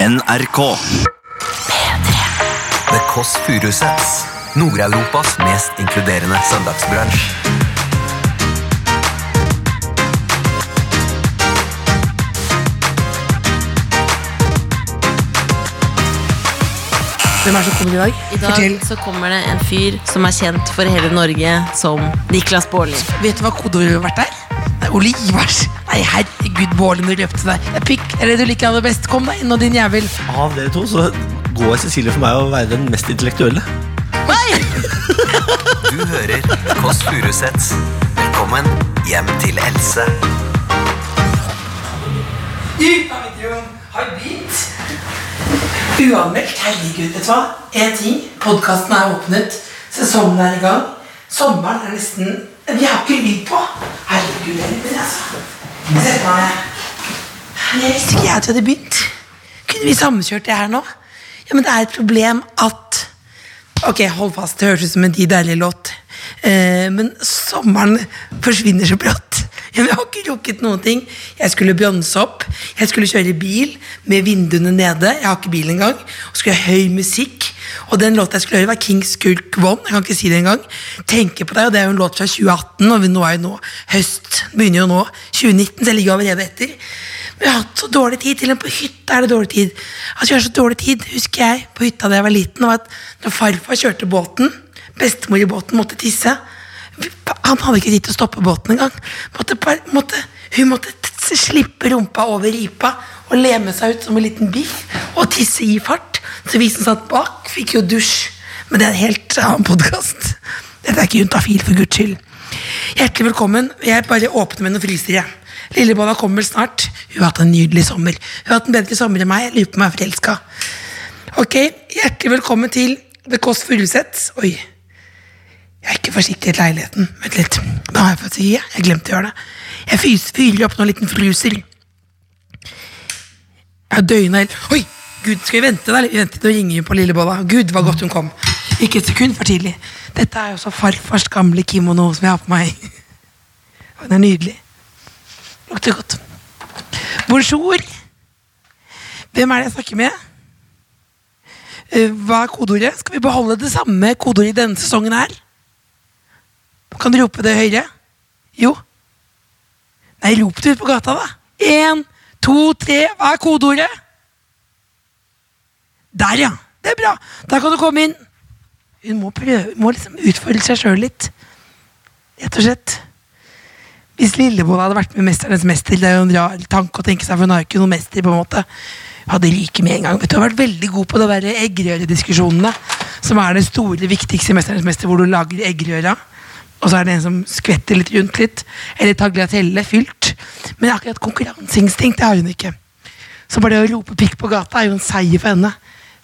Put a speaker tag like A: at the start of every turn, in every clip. A: NRK.
B: The Kåss Furuseths. Nord-Europas mest inkluderende søndagsbransj.
C: Hvem er det som kommer i dag?
D: I dag så kommer det en fyr som er kjent for hele Norge som Niklas Baarli.
C: Vet du hva kodeordet har vært der? Det er Ole Ivars. Nei, herregud, Bålen, du løpte deg. Det er pikk, eller du liker han det best. Kom deg inn nå, din jævel.
E: Av dere to så går Cecilie for meg å være den mest intellektuelle.
C: Nei!
B: Du hører The Kåss Furuseths. Velkommen hjem til Else.
F: Ut av videoen har begynt. Uanmeldt. Herregud, vet du hva? En ting. Podkasten er åpnet. Sesongen er i gang. Sommeren er nesten Vi har ikke lyd på. Herregud, Elvin, altså. Sett meg ned.
C: Jeg visste ikke jeg at vi hadde begynt. Kunne vi samkjørt det her nå? Ja, men det er et problem at Ok, hold fast, det høres ut som en de deilige låt. Eh, men sommeren forsvinner så brått. Ja, men Jeg har ikke rukket noen ting. Jeg skulle bronse opp. Jeg skulle kjøre bil med vinduene nede. Jeg har ikke bil engang. Og skulle ha høy musikk. Og den låta jeg skulle høre, var Kings Kulk One. Jeg kan ikke si det engang. Tenke på deg, og det er jo en låt fra 2018, og vi nå er jo nå høst. Begynner jo nå. 2019, så jeg ligger allerede etter. Men jeg har hatt så dårlig tid. Til og med på hytta er det dårlig tid. Altså, jeg har så dårlig tid, husker jeg, på hytta da jeg var liten, var at når farfar kjørte båten, bestemor i båten måtte tisse vi- Han hadde ikke tid til å stoppe båten engang. Måtte, bare- måtte, hun måtte t- t- slippe rumpa over ripa og leme seg ut som en liten biff og tisse i fart. Så vi som satt bak, fikk jo dusj. Men det er en helt annen podkast. Dette er ikke Juntafil, for guds skyld. Hjertelig velkommen. Jeg bare åpner med noen frysere. Lillebolla kommer snart. Hun har hatt en nydelig sommer. Hun har hatt en bedre sommer enn meg. Jeg lurer på om jeg er forelska. Ok, hjertelig velkommen til The Kåss Furuseths. Oi. Jeg er ikke forsiktig i leiligheten. Vent litt. Hva har jeg fått si? Jeg glemte å gjøre det. Jeg fys- fyrer opp noen liten fruser. Jeg har døgna helt Oi! Gud, skal vi vente der? Vi venter til å ringe på Lillebolla. Gud, hva godt hun kom. Ikke et sekund for tidlig. Dette er jo så farfars gamle kimono som jeg har på meg. Den er nydelig. Lukter godt. Bonjour. Hvem er det jeg snakker med? Eh, Hva er kodeordet? Skal vi beholde det samme kodeordet i denne sesongen her? Kan du rope det høyere? Jo. Nei, rop det ut på gata, da. Én, to, tre. Hva er kodeordet? Der, ja. Det er bra. Da kan du komme inn. Hun må prøve, må liksom utfordre seg sjøl litt. Rett og slett. Hvis Lillebolla hadde vært med i Mesternes mester, det er jo en rar tanke å tenke seg, for hun har jo ikke noen mester, på en måte. Hun Hadde ryket med en gang. Vet du, Hun har vært veldig god på det der eggerørediskusjonene, som er det store, viktigste i Mesternes mester, hvor du lager eggerøra, og så er det en som skvetter litt rundt litt, eller tagliatelle fylt. Men akkurat konkurranseinstinkt, det har hun ikke. Så bare det å rope pikk på gata er jo en seier for henne,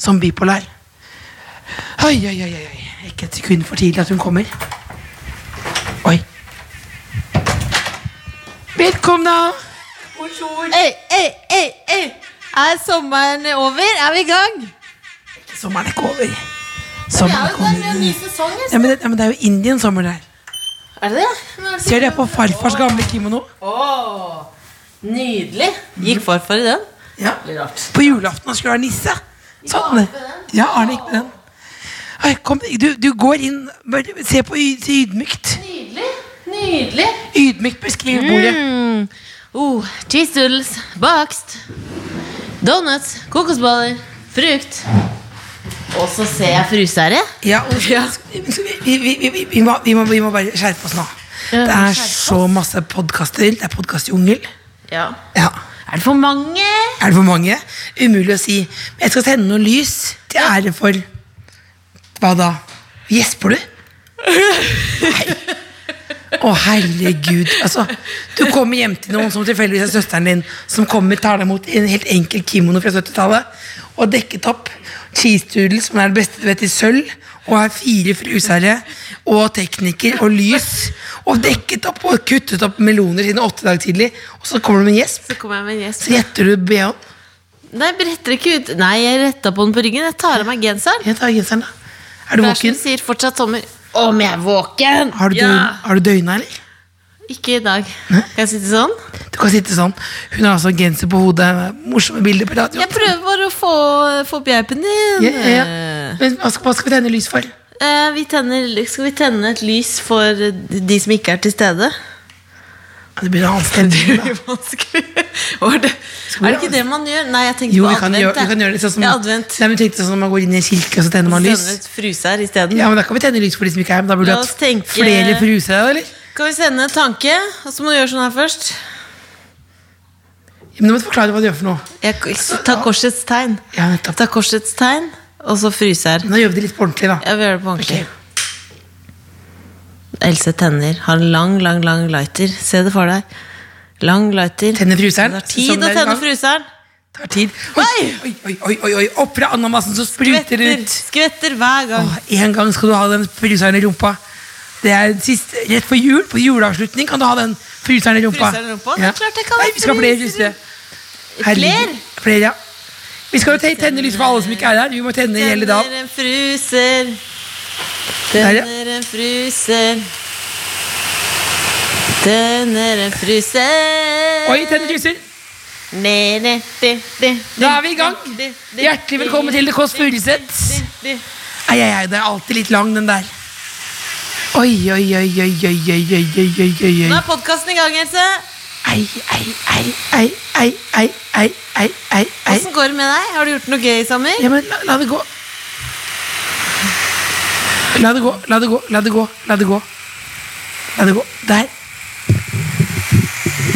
C: som bipolar. Oi, oi, oi, oi. oi. Ikke et sekund for tidlig at hun kommer. Oi. Velkommen, da.
D: Ei, ei, ei, ei. Er sommeren over? Er vi i gang?
C: Sommeren er ikke over. Sommeren er ikke over.
D: sesong.
C: Ja, men, det, ja, men det er jo Indian sommer der.
D: Er det det?
C: Ser dere på farfars gamle kimono?
D: Nydelig. Gikk farfar i den?
C: Ja.
D: Litt rart.
C: På julaften han skulle være nisse. Sånn. Ja, Arne gikk med den. Oi, kom, du, du går inn bare Se på y- se ydmykt.
D: Nydelig. Nydelig.
C: Ydmykt beskriv
D: Mm.
C: bordet.
D: Oh, cheese doodles, bakst, donuts, kokosboller, frukt. Og så ser jeg fruseæret.
C: Ja, og, så vi, vi, vi, vi, vi, må, vi, må, vi må bare skjerpe oss nå.
D: Ja,
C: Det
D: vi må
C: er
D: skjerpe oss.
C: så masse podkaster. Det er podkastjungel.
D: Ja.
C: Ja.
D: Er det for mange?
C: Er det for mange? Umulig å si. Men jeg skal sende noen lys til ære for Hva da? Gjesper du? Nei. Å, herregud. Altså, du kommer hjem til noen som tilfeldigvis er søsteren din, som kommer tar deg imot i en helt enkel kimono fra 70-tallet, og dekket opp cheese doodles, som er det beste du vet, i sølv, og har fire frusere og tekniker og lys, og dekket opp og kuttet opp meloner siden åtte dager tidlig, og så kommer du med en gjesp.
D: Så kommer jeg med en gjesp.
C: Så gjetter du BH-en.
D: Nei, jeg retter ikke ut. Nei, jeg retta på den på ryggen. Jeg tar av meg genseren.
C: Jeg tar genseren, da. Er du
D: Det er som
C: våken?
D: du sier, fortsatt sommer. Om jeg er våken!
C: Har du, døgn, har du døgna, eller?
D: Ikke i dag. Kan jeg sitte sånn?
C: Du kan sitte sånn. Hun har altså genser på hodet, morsomme bilder på radio.
D: Jeg prøver bare å få, få opp geipen din.
C: Ja, ja, ja. Men hva skal, hva skal vi tenne lys for?
D: Eh, vi tenner, skal vi tenne et lys for de som ikke er til stede?
C: Ja, Det blir en annen stemning. da.
D: blir vanskelig. Var det, er det ikke det man gjør? Nei, jeg tenker
C: Jo,
D: på
C: vi
D: advent.
C: kan, gjøre, vi
D: jeg.
C: kan gjøre det sånn som
D: ja, advent.
C: Nei, men tenk deg sånn at man går inn i en kirke, og så tenner man lys.
D: Sende et fruser isteden.
C: Ja, men Da kan vi tenne lys for de som ikke er her. Men da burde
D: La
C: vi
D: oss
C: hatt
D: tenke-
C: flere fruser. da, Eller?
D: Skal vi sende en tanke, og så må du gjøre sånn her først?
C: Ja, Men du må forklare hva du gjør for noe.
D: Jeg, ta korsets tegn.
C: Ja, nettopp.
D: Ta korsets tegn, og så fryser.
C: Nå gjør vi det litt på ordentlig, da.
D: Jeg vil gjøre det på ordentlig.
C: Ok.
D: Else tenner. Har en lang, lang, lang lighter. Se det for deg. Lang lighter.
C: Tenne fryseren. Sånn
D: Det tar tid å tenne fryseren.
C: Tar tid. Oi, oi, oi, oi, oi, oi. opp fra ananasen som spruter
D: Skvetter,
C: ut.
D: skvetter hver gang.
C: Åh, En gang skal du ha den fryseren i rumpa. Det er den siste, Rett før jul, på juleavslutning, kan du ha den fryseren i rumpa.
D: Fryseren i rumpa? Det er klart jeg kan
C: Nei,
D: ha
C: vi skal ha flere
D: fryser.
C: frysere.
D: Fler?
C: Herregud. Flere, ja. Vi skal jo te- tenne lys for alle som ikke er her. Vi må tenne i hele dagen.
D: Tenner en fryser.
C: ja.
D: Tenner en fryser. Tenner en fryser.
C: Oi, tenner lyser.
D: Ne, ne, de, de,
C: Da er vi i gang.
D: de, de, de,
C: Hjertelig velkommen til Det Kåss Furuseth.
D: de, de.
C: Ei, ei, ei, det er alltid litt lang, den der. Oi, oi, oi, oi, oi, oi, oi, oi, oi, oi,
D: Nå
C: oi.
D: er podkasten i gang, Else.
C: Ei, ei, ei, ei, ei, ei, ei, ei, ei, ei.
D: Åssen går det med deg? Har du gjort noe gøy i sommer?
C: Ja, men la, la det gå. La det gå, la det gå, la det gå, la det gå. La det gå. Der.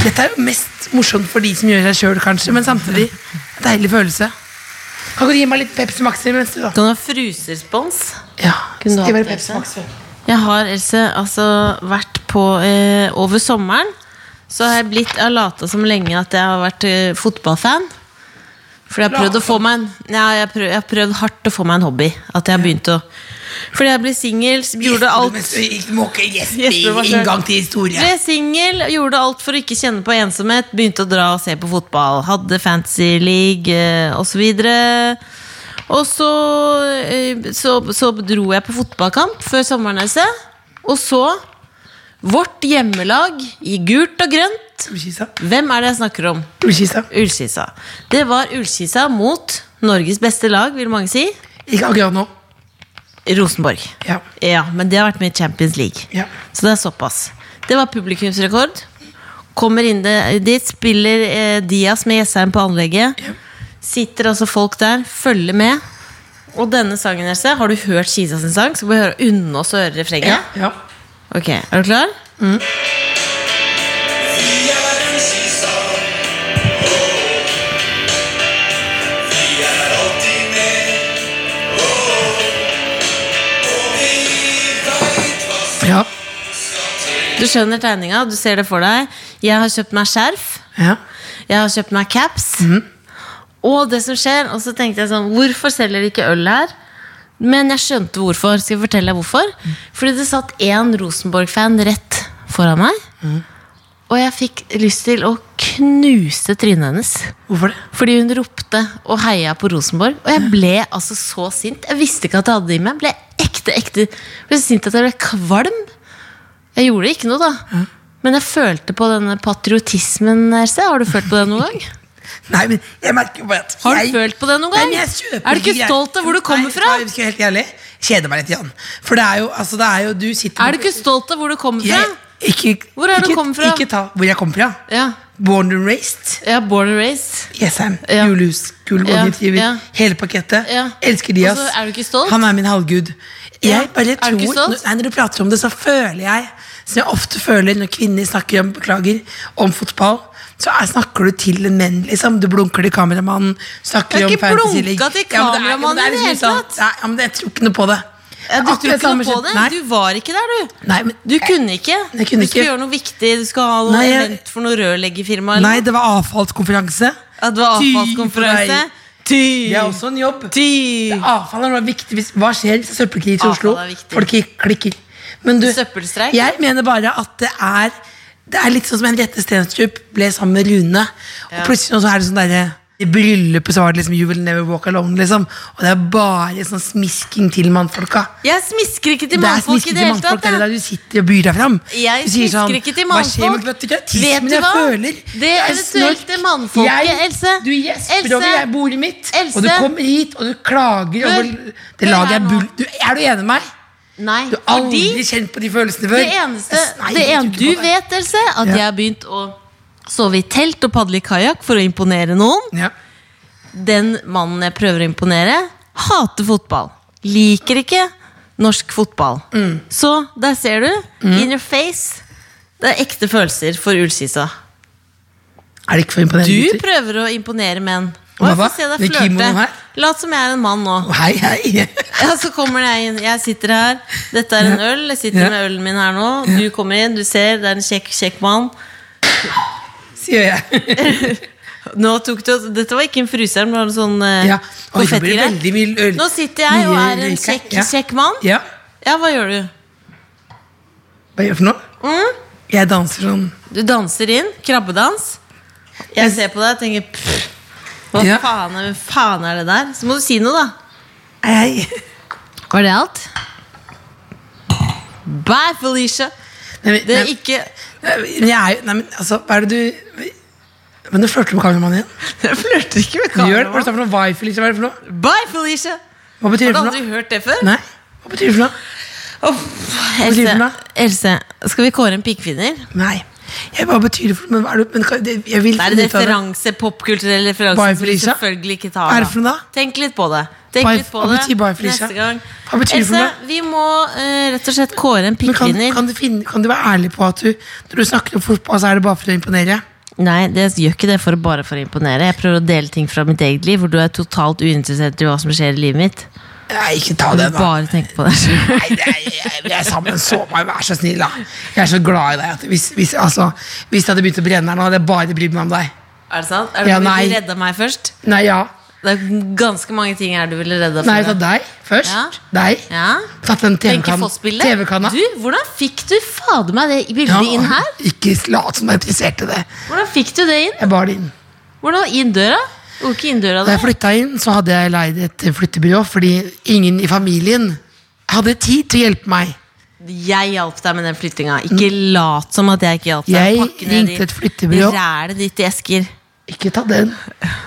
C: Dette er jo mest morsomt for de som gjør seg sjøl, kanskje, men samtidig en deilig følelse. Kan ikke du gi meg litt Pepsi Max imens, du, da?
D: Kan du ha fruserspons?
C: Ja.
D: Kunne du
C: Skal
D: hatt
C: være
D: Pepsi?
C: Pepsi Max? vel?
D: Jeg har Else altså vært på eh, Over sommeren så har jeg blitt Jeg har lata som lenge at jeg har vært eh, fotballfan. Fordi jeg har prøvd å få meg en ja, jeg, har prøvd, jeg har prøvd hardt å få meg en hobby. At jeg har begynt å Fordi jeg ble singel, gjorde alt
C: Mens du ikke måker gjespe
D: Gjespe var
C: i
D: selv.
C: inngang til historie.
D: Ble singel, gjorde alt for å ikke kjenne på ensomhet. Begynte å dra og se på fotball. Hadde fancy league eh, og så videre Og så, eh, så, så dro jeg på fotballkamp før sommerneset. Og så vårt hjemmelag i gult og grønt.
C: Ullkisa.
D: Hvem er det jeg snakker om?
C: Ullkisa.
D: Ullkisa. Det var Ullkisa mot Norges beste lag, vil mange si.
C: Ikke akkurat nå.
D: Rosenborg.
C: Ja.
D: Ja, men det har vært med i Champions League.
C: Ja.
D: Så det er såpass. Det var publikumsrekord. Kommer inn det- dit, spiller eh, Dias med Jessheim på anlegget. Sitter altså folk der, følger med. Og denne sangen deres, har du hørt Kisa sin sang? Skal vi høre unne oss å høre refrenget?
C: ja.
D: Ok, er du klar?
C: Ja.
D: Du skjønner tegninga, du ser det for deg. Jeg har kjøpt meg skjerf.
C: ja.
D: Jeg har kjøpt meg caps.
C: Mhm.
D: Og det som skjer, og så tenkte jeg sånn Hvorfor selger de ikke øl her? Men jeg skjønte hvorfor. Skal jeg fortelle deg hvorfor?
C: Mhm.
D: Fordi det satt én Rosenborg-fan rett foran meg.
C: Mhm.
D: Og jeg fikk lyst til å knuse trynet hennes.
C: Hvorfor det?
D: Fordi hun ropte og heia på Rosenborg. Og jeg ble altså så sint. Jeg visste ikke at jeg hadde det i meg. Jeg Ble ekte, ekte ble så sint at jeg ble kvalm. Jeg gjorde ikke noe, da. Men jeg følte på denne patriotismen. Else. Har du følt på det noen gang?
C: Nei, men jeg merker jo bare at
D: Har du
C: jeg-
D: følt på det noen
C: Nei,
D: gang?
C: men jeg kjøper
D: Er du ikke
C: greier.
D: stolt av hvor du kommer
C: Nei,
D: fra?
C: Nei, jeg skal være helt ærlig. Kjeder meg litt, Jan. For det er jo, altså, det er jo Du sitter
D: Er du ikke stolt av hvor du kommer fra?
C: jeg, ikke,
D: Hvor er du
C: ikke,
D: kommet fra?
C: Ikke ta hvor jeg kommer fra.
D: Ja.
C: Born and raised.
D: Jeg er born and raised.
C: Jessheim.
D: Ja.
C: Julehus. Gullvågutgiver.
D: Ja, ja.
C: Hele pakettet.
D: Ja.
C: Elsker Dias.
D: Og så er du ikke stolt?
C: Han er min halvgud. Jeg
D: Ja.
C: bare
D: Er
C: tror,
D: du ikke stolt?
C: Nei, Når du prater om det, så føler jeg, som jeg ofte føler når kvinner snakker om, beklager, om fotball, så er, snakker du til en menn, liksom. Du blunker til kameramannen. Snakker
D: Jeg har
C: om
D: ikke
C: Fantasy
D: blunket
C: League.
D: til
C: Ja, men det er-
D: kameramannen
C: men det er
D: i det
C: liksom
D: hele
C: sånn-
D: tatt.
C: Nei, ja, men jeg tror ikke noe på det.
D: Ja, du
C: Akkurat
D: tror ikke
C: samme
D: noe på
C: skjøn-
D: det?
C: Nei.
D: Du var ikke der, du.
C: Nei, men-
D: du kunne ikke.
C: Jeg kunne
D: du skulle
C: ikke.
D: gjøre noe viktig. Du skulle ha noe
C: Nei, jeg-
D: event for noe rørleggerfirma. eller
C: Nei, det var avfallskonferanse.
D: At det var
C: Ty
D: avfallskonferanse?
C: for deg.
D: Ty!
C: Det er også en jobb.
D: Ty!
C: Avfall er noe viktig hvis, Hva skjer hvis det er søppelkrig i
D: Avfall
C: Oslo?
D: er viktig.
C: Folk ikke klikker. Men du,
D: Søppelstreik?
C: jeg mener bare at det er Det er litt sånn som Henriette Stenstrup ble sammen med Rune. Og plutselig nå så er det sånn derre I bryllupet så var det liksom You will never walk alone, liksom. Og det er bare sånn smisking til mannfolka.
D: Jeg smisker ikke til
C: Det er
D: mannfolk i
C: smisking
D: det
C: til
D: hele
C: mannfolk,
D: tatt.
C: det er
D: jeg.
C: der du sitter og byr deg fram.
D: Jeg
C: du sier sånn,
D: smisker ikke til
C: Hva skjer med
D: mannfolk. Vet
C: patriotismen
D: du
C: jeg
D: hva?
C: føler?
D: Det
C: Jeg
D: eventuelt
C: snork.
D: det mannfolket,
C: Jeg-
D: Else.
C: Du gjesper over
D: Else.
C: jeg bordet mitt, og du
D: Else.
C: kommer hit, og du klager over Det
D: Hør
C: laget
D: her
C: er
D: nå.
C: bull... Du, er du enig med meg?
D: Nei,
C: Du har
D: fordi
C: aldri kjent på de følelsene før.
D: det eneste
C: Jeg- nei,
D: det
C: jeg
D: ene
C: tror
D: du
C: ikke på deg.
D: vet, Else, at
C: Ja.
D: jeg har begynt å sove i telt og padle i kajakk for å imponere noen.
C: Ja.
D: Den mannen jeg prøver å imponere, hater fotball. Liker ikke norsk fotball.
C: Mm.
D: Så der ser du. In your face. Det er ekte følelser for Ullsisa.
C: Er det ikke for imponerende?
D: Du
C: gutter?
D: prøver å imponere menn.
C: Hva
D: Og jeg
C: da?
D: får se deg
C: Med kimono
D: flørte.
C: her?
D: Lat som jeg er en mann nå.
C: Hei, hei.
D: Ja, så kommer jeg inn. Jeg sitter her. Dette er en øl. Jeg sitter
C: Ja.
D: med ølen min her nå. Du kommer inn, du ser. Det er en kjekk, kjekk mann.
C: Sier jeg.
D: Nå tok du, dette var ikke en fryseren, det var en sånn eh,
C: Ja. Oi, det blir
D: konfettigreie.
C: veldig mye øl.
D: Nå sitter jeg og
C: mye
D: er en
C: røyk her.
D: kjekk,
C: Ja.
D: kjekk mann.
C: Ja.
D: Ja, hva gjør du?
C: Hva gjør jeg for noe? Jeg danser sånn.
D: Du danser inn. Krabbedans. Jeg ser på deg og tenker pff, hva
C: Ja.
D: faen, er- hva faen er det der? Så må du si noe, da.
C: Hei.
D: Var det alt? Bye, Felicia.
C: Nei, men,
D: Det
C: nei,
D: er ikke
C: men jeg er jo Nei, men altså, hva er det du Men du flørter med kameramannen igjen?
D: Jeg flørter ikke med
C: Du gjør det. Hva er det
D: kameraet.
C: for noe wifi? Liksom? Hva er det for noe?
D: Bye, Felicia.
C: Hva betyr
D: Har
C: det
D: du
C: for
D: aldri
C: noe?
D: hørt det før?
C: Nei. Hva betyr det for noe?
D: Uff,
C: betyr det for
D: Else,
C: noe?
D: Else, skal vi kåre en pikkfinner?
C: Nei. Jeg, hva betyr det for noe? Men, hva er det, men hva- det, jeg vil
D: Det er
C: finne
D: en
C: ut av
D: referanse, popkulturell referanse
C: Bye,
D: som vi
C: Felicia?
D: selvfølgelig ikke tar.
C: Hva er det for noe da?
D: Tenk litt på det. Tenk
C: Bye-
D: litt på
C: hva
D: det
C: betyr bye, Felicia?
D: neste gang.
C: Hva betyr det for
D: Else,
C: noe?
D: vi må eh, rett og slett kåre en
C: Men kan,
D: pikkfinner.
C: kan, du finne, kan du være ærlig på at du når du snakker om fotball, så er det bare for å imponere?
D: Nei, det gjør ikke det for, bare for å imponere. Jeg prøver å dele ting fra mitt eget liv, hvor du er totalt uinteressert i hva som skjer i livet mitt.
C: Nei, ikke ta
D: Du
C: det, da.
D: bare tenker på deg selv.
C: Nei, det er, jeg, jeg er sammen så meg, vær så snill, da. Jeg er så glad i deg. At hvis, hvis, altså, hvis det hadde begynt å brenne her nå, hadde jeg bare brydd meg om deg.
D: Er det sant? Er det
C: Ja,
D: fordi
C: nei.
D: du redda meg først?
C: Nei, ja.
D: Det er ganske mange ting her du ville redda
C: Nei,
D: for.
C: ta
D: meg.
C: deg først.
D: Ja.
C: Deg.
D: Ja.
C: Tatt den
D: Wenche
C: TV-kan-
D: Foss-bildet.
C: TV-kanna.
D: Du, hvordan fikk du fader meg det bildet
C: Ja,
D: inn her?
C: Ikke lat som jeg interesserte det.
D: Hvordan fikk du det inn?
C: Jeg bar det inn.
D: Hvordan inn døra? Hvor ikke inn døra
C: Da
D: da?
C: jeg flytta inn, så hadde jeg leid et flyttebyrå fordi ingen i familien hadde tid til å hjelpe meg.
D: Jeg hjalp deg med den flyttinga. Ikke lat som at jeg ikke hjalp
C: Mm.
D: deg.
C: Jeg
D: Pakke ned
C: ringte
D: de-
C: et flyttebyrå.
D: Rælet ditt i esker.
C: Ikke ta den.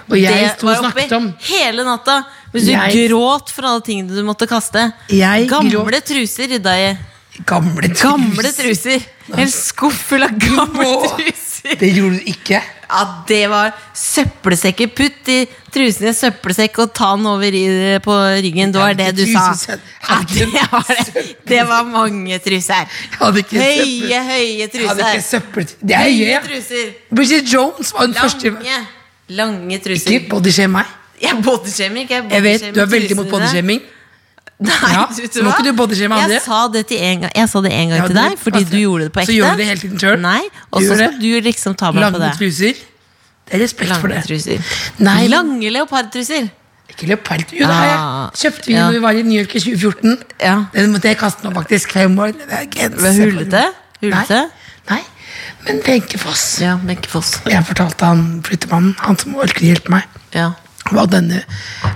C: Og jeg
D: det
C: sto og
D: var oppe
C: snakket om
D: hele natta. Mens du
C: Jeg-
D: gråt for alle tingene du måtte kaste.
C: Jeg
D: gamle
C: gråt.
D: truser rydda jeg.
C: gamle truser.
D: Gamle truser. En skuff full av gamle
C: må-
D: truser.
C: Det gjorde du ikke.
D: Ja, det var søppelsekker. Putt i trusen i en søppelsekk og ta den over i, på ryggen. Det var det du sa.
C: Tusen søt.
D: Ja, det var det. Det var mange truser.
C: hadde ikke søppel-
D: Høye, høye
C: Jeg hadde ikke
D: truser.
C: søppel Det er
D: Høye
C: jeg.
D: truser.
C: Bridget Jones var den første
D: Lange, lange truser.
C: Ikke bodyshame meg.
D: Jeg bodyshamer ikke.
C: Jeg vet, Du er veldig mot bodyshaming.
D: Nei,
C: Ja,
D: vet
C: må
D: hva?
C: ikke du bodyshame andre.
D: Jeg sa det, til en gang, jeg sa det en gang
C: Ja,
D: til
C: du- altså,
D: deg, fordi du gjorde det på
C: Så
D: ekte.
C: gjør du det hele tiden selv.
D: Nei, Og
C: Du
D: så
C: gjør
D: skal
C: det.
D: du liksom ta meg på
C: Lange
D: det.
C: truser. Det er respekt for
D: Lange
C: det.
D: truser.
C: Nei, men-
D: Lange leopardtruser.
C: Ikke leopard. Jo, det har
D: Ah,
C: jeg. Kjøpte vi
D: ja.
C: når vi var i New York i 2014.
D: Ja.
C: Den måtte jeg kaste nå, faktisk. Fem år. Det er grense.
D: Var hullete?
C: for-
D: Hullete?
C: Nei. Nei. Men Wenche Foss.
D: Ja, Wenche Foss.
C: Jeg fortalte han flyttemannen, han som orket å hjelpe meg,
D: Ja.
C: hva denne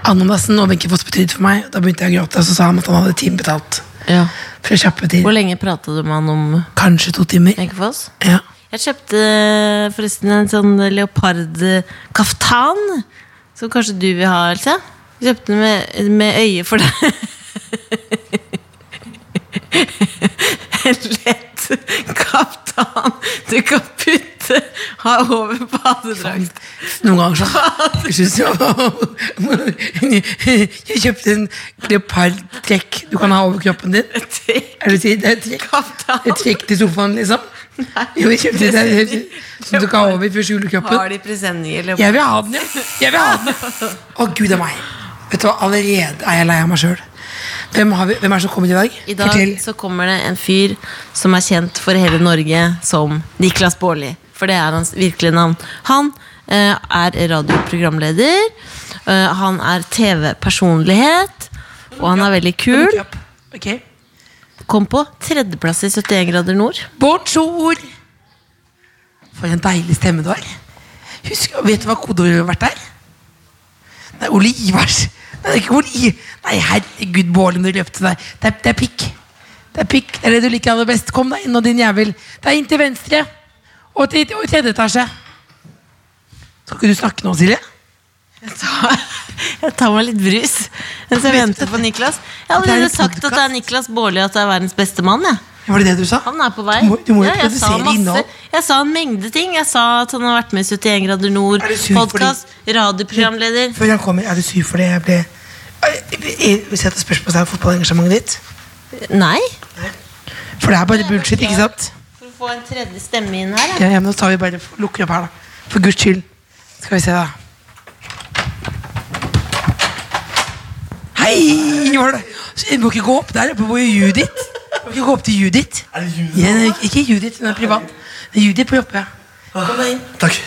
C: ananasen og Wenche Foss betydde for meg. Da begynte jeg å gråte, og så sa han at han hadde timebetalt.
D: ja.
C: For å kjappe til.
D: Hvor lenge prata du med han om
C: Kanskje to timer.
D: Wenche Foss?
C: Ja.
D: Jeg kjøpte eh, forresten en sånn leopardkaftan, som kanskje du vil ha, Else. Jeg kjøpte den med, med øye for deg. En lett kaftan du kan putte ha over badedrakt.
C: Noen ganger så jeg synes jeg Jeg kjøpte en leopardtrekk du kan ha over kroppen din. Er det å si? Det er et trekk.
D: Kaftan.
C: Et trekk til sofaen, liksom. Jo, jeg kjøpte det det- som du kan ha over for å skjule
D: Har
C: kroppen.
D: de presenninger? eller-
C: Jeg vil ha den, jeg. Jeg vil ha den. Å, gud a meg. Vet du hva, allerede er jeg lei av meg sjøl. Hvem, har vi- hvem er det som kommer i dag?
D: I dag
C: Fortell.
D: så kommer det en fyr som er kjent for hele Norge som Niklas Baarli. For det er hans virkelige navn. Han eh, er radioprogramleder. eh, han er TV-personlighet. Og han er veldig kul.
C: Ok.
D: Kom på tredjeplass i 71 grader nord.
C: Bonjour! For en deilig stemme du har. Husk, vet du hva kodeordet har vært der? Det er Ole Ivars. Nei, det er ikke Ole I. Nei, herregud, Bålen, du løp til deg. Det er, det er pikk. Det er pikk. Det er det du liker aller best. Kom deg inn, og din jævel. Det er inn til venstre. Og til og i tredje etasje. Skal ikke du snakke nå, Silje?
D: Jeg tar, jeg tar meg litt brus mens jeg venter på Niklas. Jeg har
C: Det er en
D: allerede sagt at det
C: podcast.
D: er Niklas Baarli at det er verdens beste mann. Jeg.
C: Var det det du sa?
D: Han er på vei.
C: Du må, du må jo
D: Ja, jeg sa
C: produsere
D: masse.
C: innhold.
D: Jeg sa en mengde ting. Jeg sa at han har vært med i 71 grader nord,
C: Er du sur for
D: podkast, radioprogramleder.
C: Før han kommer, er du syr for det jeg ble Vi setter spørsmålstegn ved fotballengasjementet ditt.
D: Nei.
C: For det er bare bullshit, ikke sant?
D: For å få en tredje stemme inn her.
C: Ja, ja, men da tar vi bare lukker opp her, da. For guds skyld. Skal vi se, da. Hei! Hva er det? Så jeg må ikke gå opp der oppe på Judith. Du må ikke gå opp til Judith.
E: Er det Judith?
C: Ja, nei, ikke Judith, hun er privat. Det er Judith på jobb, ja. Kom deg inn.
E: Ah, Takk.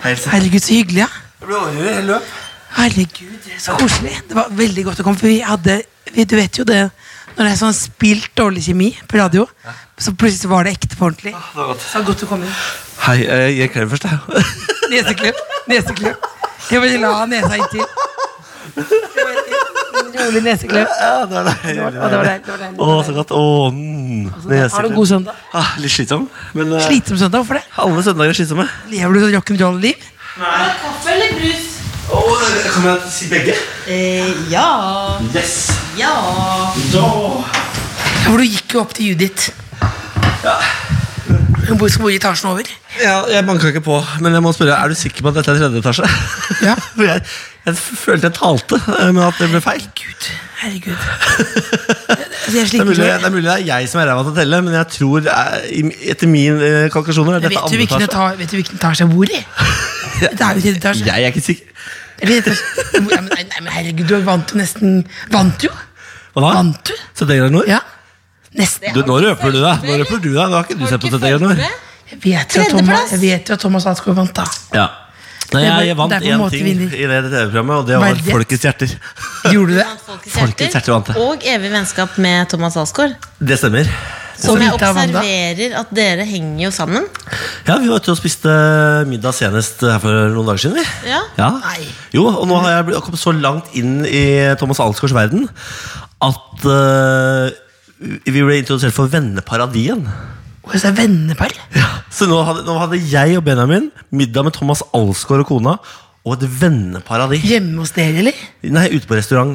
E: Hei, Else.
C: Herregud, så hyggelig, ja.
E: Jeg ble overhørt i hele løp.
C: Herregud, det er så koselig. Det var veldig godt å komme, for vi hadde vi, Du vet jo det når det er sånn spilt dårlig kjemi på radio, så plutselig var det ekte på ordentlig.
E: Ah, Det var godt.
C: Så godt å komme inn.
E: Hei, eh, jeg klem først, jeg.
C: Neseklem. Neseklem. Jeg bare la nesa inntil. Rolig neseklem.
E: Ja, det var deilig.
C: var- ja, det var deilig, det var deilig.
E: Å, så godt. Å, mm,
C: Har du en god søndag?
E: Ah, litt slitsom, men eh,
C: Slitsom søndag, hvorfor det?
E: alle søndager er slitsomme.
C: Lever du sånn rock'n'roll-liv?
D: Kaffe eller brus? Eh,
E: Oh, kan jeg si begge?
D: ja.
E: Yes.
D: Ja.
C: Ja, For du gikk jo opp til Judith. Hun bor, skal bo i etasjen over.
E: Ja, jeg banka ikke på, men jeg må spørre, er du sikker på at dette er tredje etasje?
C: Ja.
E: For jeg, jeg f- følte jeg talte, eh, men at det ble feil.
C: Gud, herregud. Altså, jeg
E: Det er,
C: sliter
E: mulig,
C: med
E: det er mulig det er jeg som er ræva til å telle, men jeg tror eh, i- etter min eh, kalkulasjoner er
C: Vet
E: dette
C: du,
E: andre
C: hvilken
E: etasje.
C: etasje, vet du hvilken etasje jeg bor i? Det er jo tredje etasje.
E: Jeg er ikke sikker.
C: Er det tredje etasje? Ja, men, nei, nei, men herregud, du vant jo nesten Vant jo!
E: Hva da?
C: Vant du?
E: Så det er noe?
C: Ja. Nesten.
E: Du, nå røper du deg. Nå røper du deg. Nå har ikke du sett på dette engang.
C: Jeg vet jo at Thomas,
D: Tredjeplass.
C: jeg vet jo at Thomas Hansgaard vant, da.
E: Ja. Nei,
C: Det er
E: jeg,
C: bare-
E: vant
C: det er på en
E: én
C: måte
E: ting
C: vinner.
E: i det TV-programmet, og det var
C: Verdighet.
E: folkets hjerter.
C: Gjorde du det?
E: Folkets hjerte vant det.
D: Og evig vennskap med Thomas Alsgaard.
E: Det stemmer.
D: Som jeg
C: vidt av Wanda.
D: observerer at dere henger jo sammen.
E: Ja, Vi var ute og spiste middag senest her for noen dager siden. vi
D: Ja.
C: Nei.
E: Jo, og nå har jeg blitt- kommet så langt inn i Thomas Alsgaards verden at eh, vi ble introdusert for venneparadien.
C: Og så er vennepar.
E: Så nå hadde, nå hadde jeg og Benjamin middag med Thomas Alsgaard og kona og et venneparadis.
C: Hjemme hos dere, eller?
E: Nei, ute på restaurant.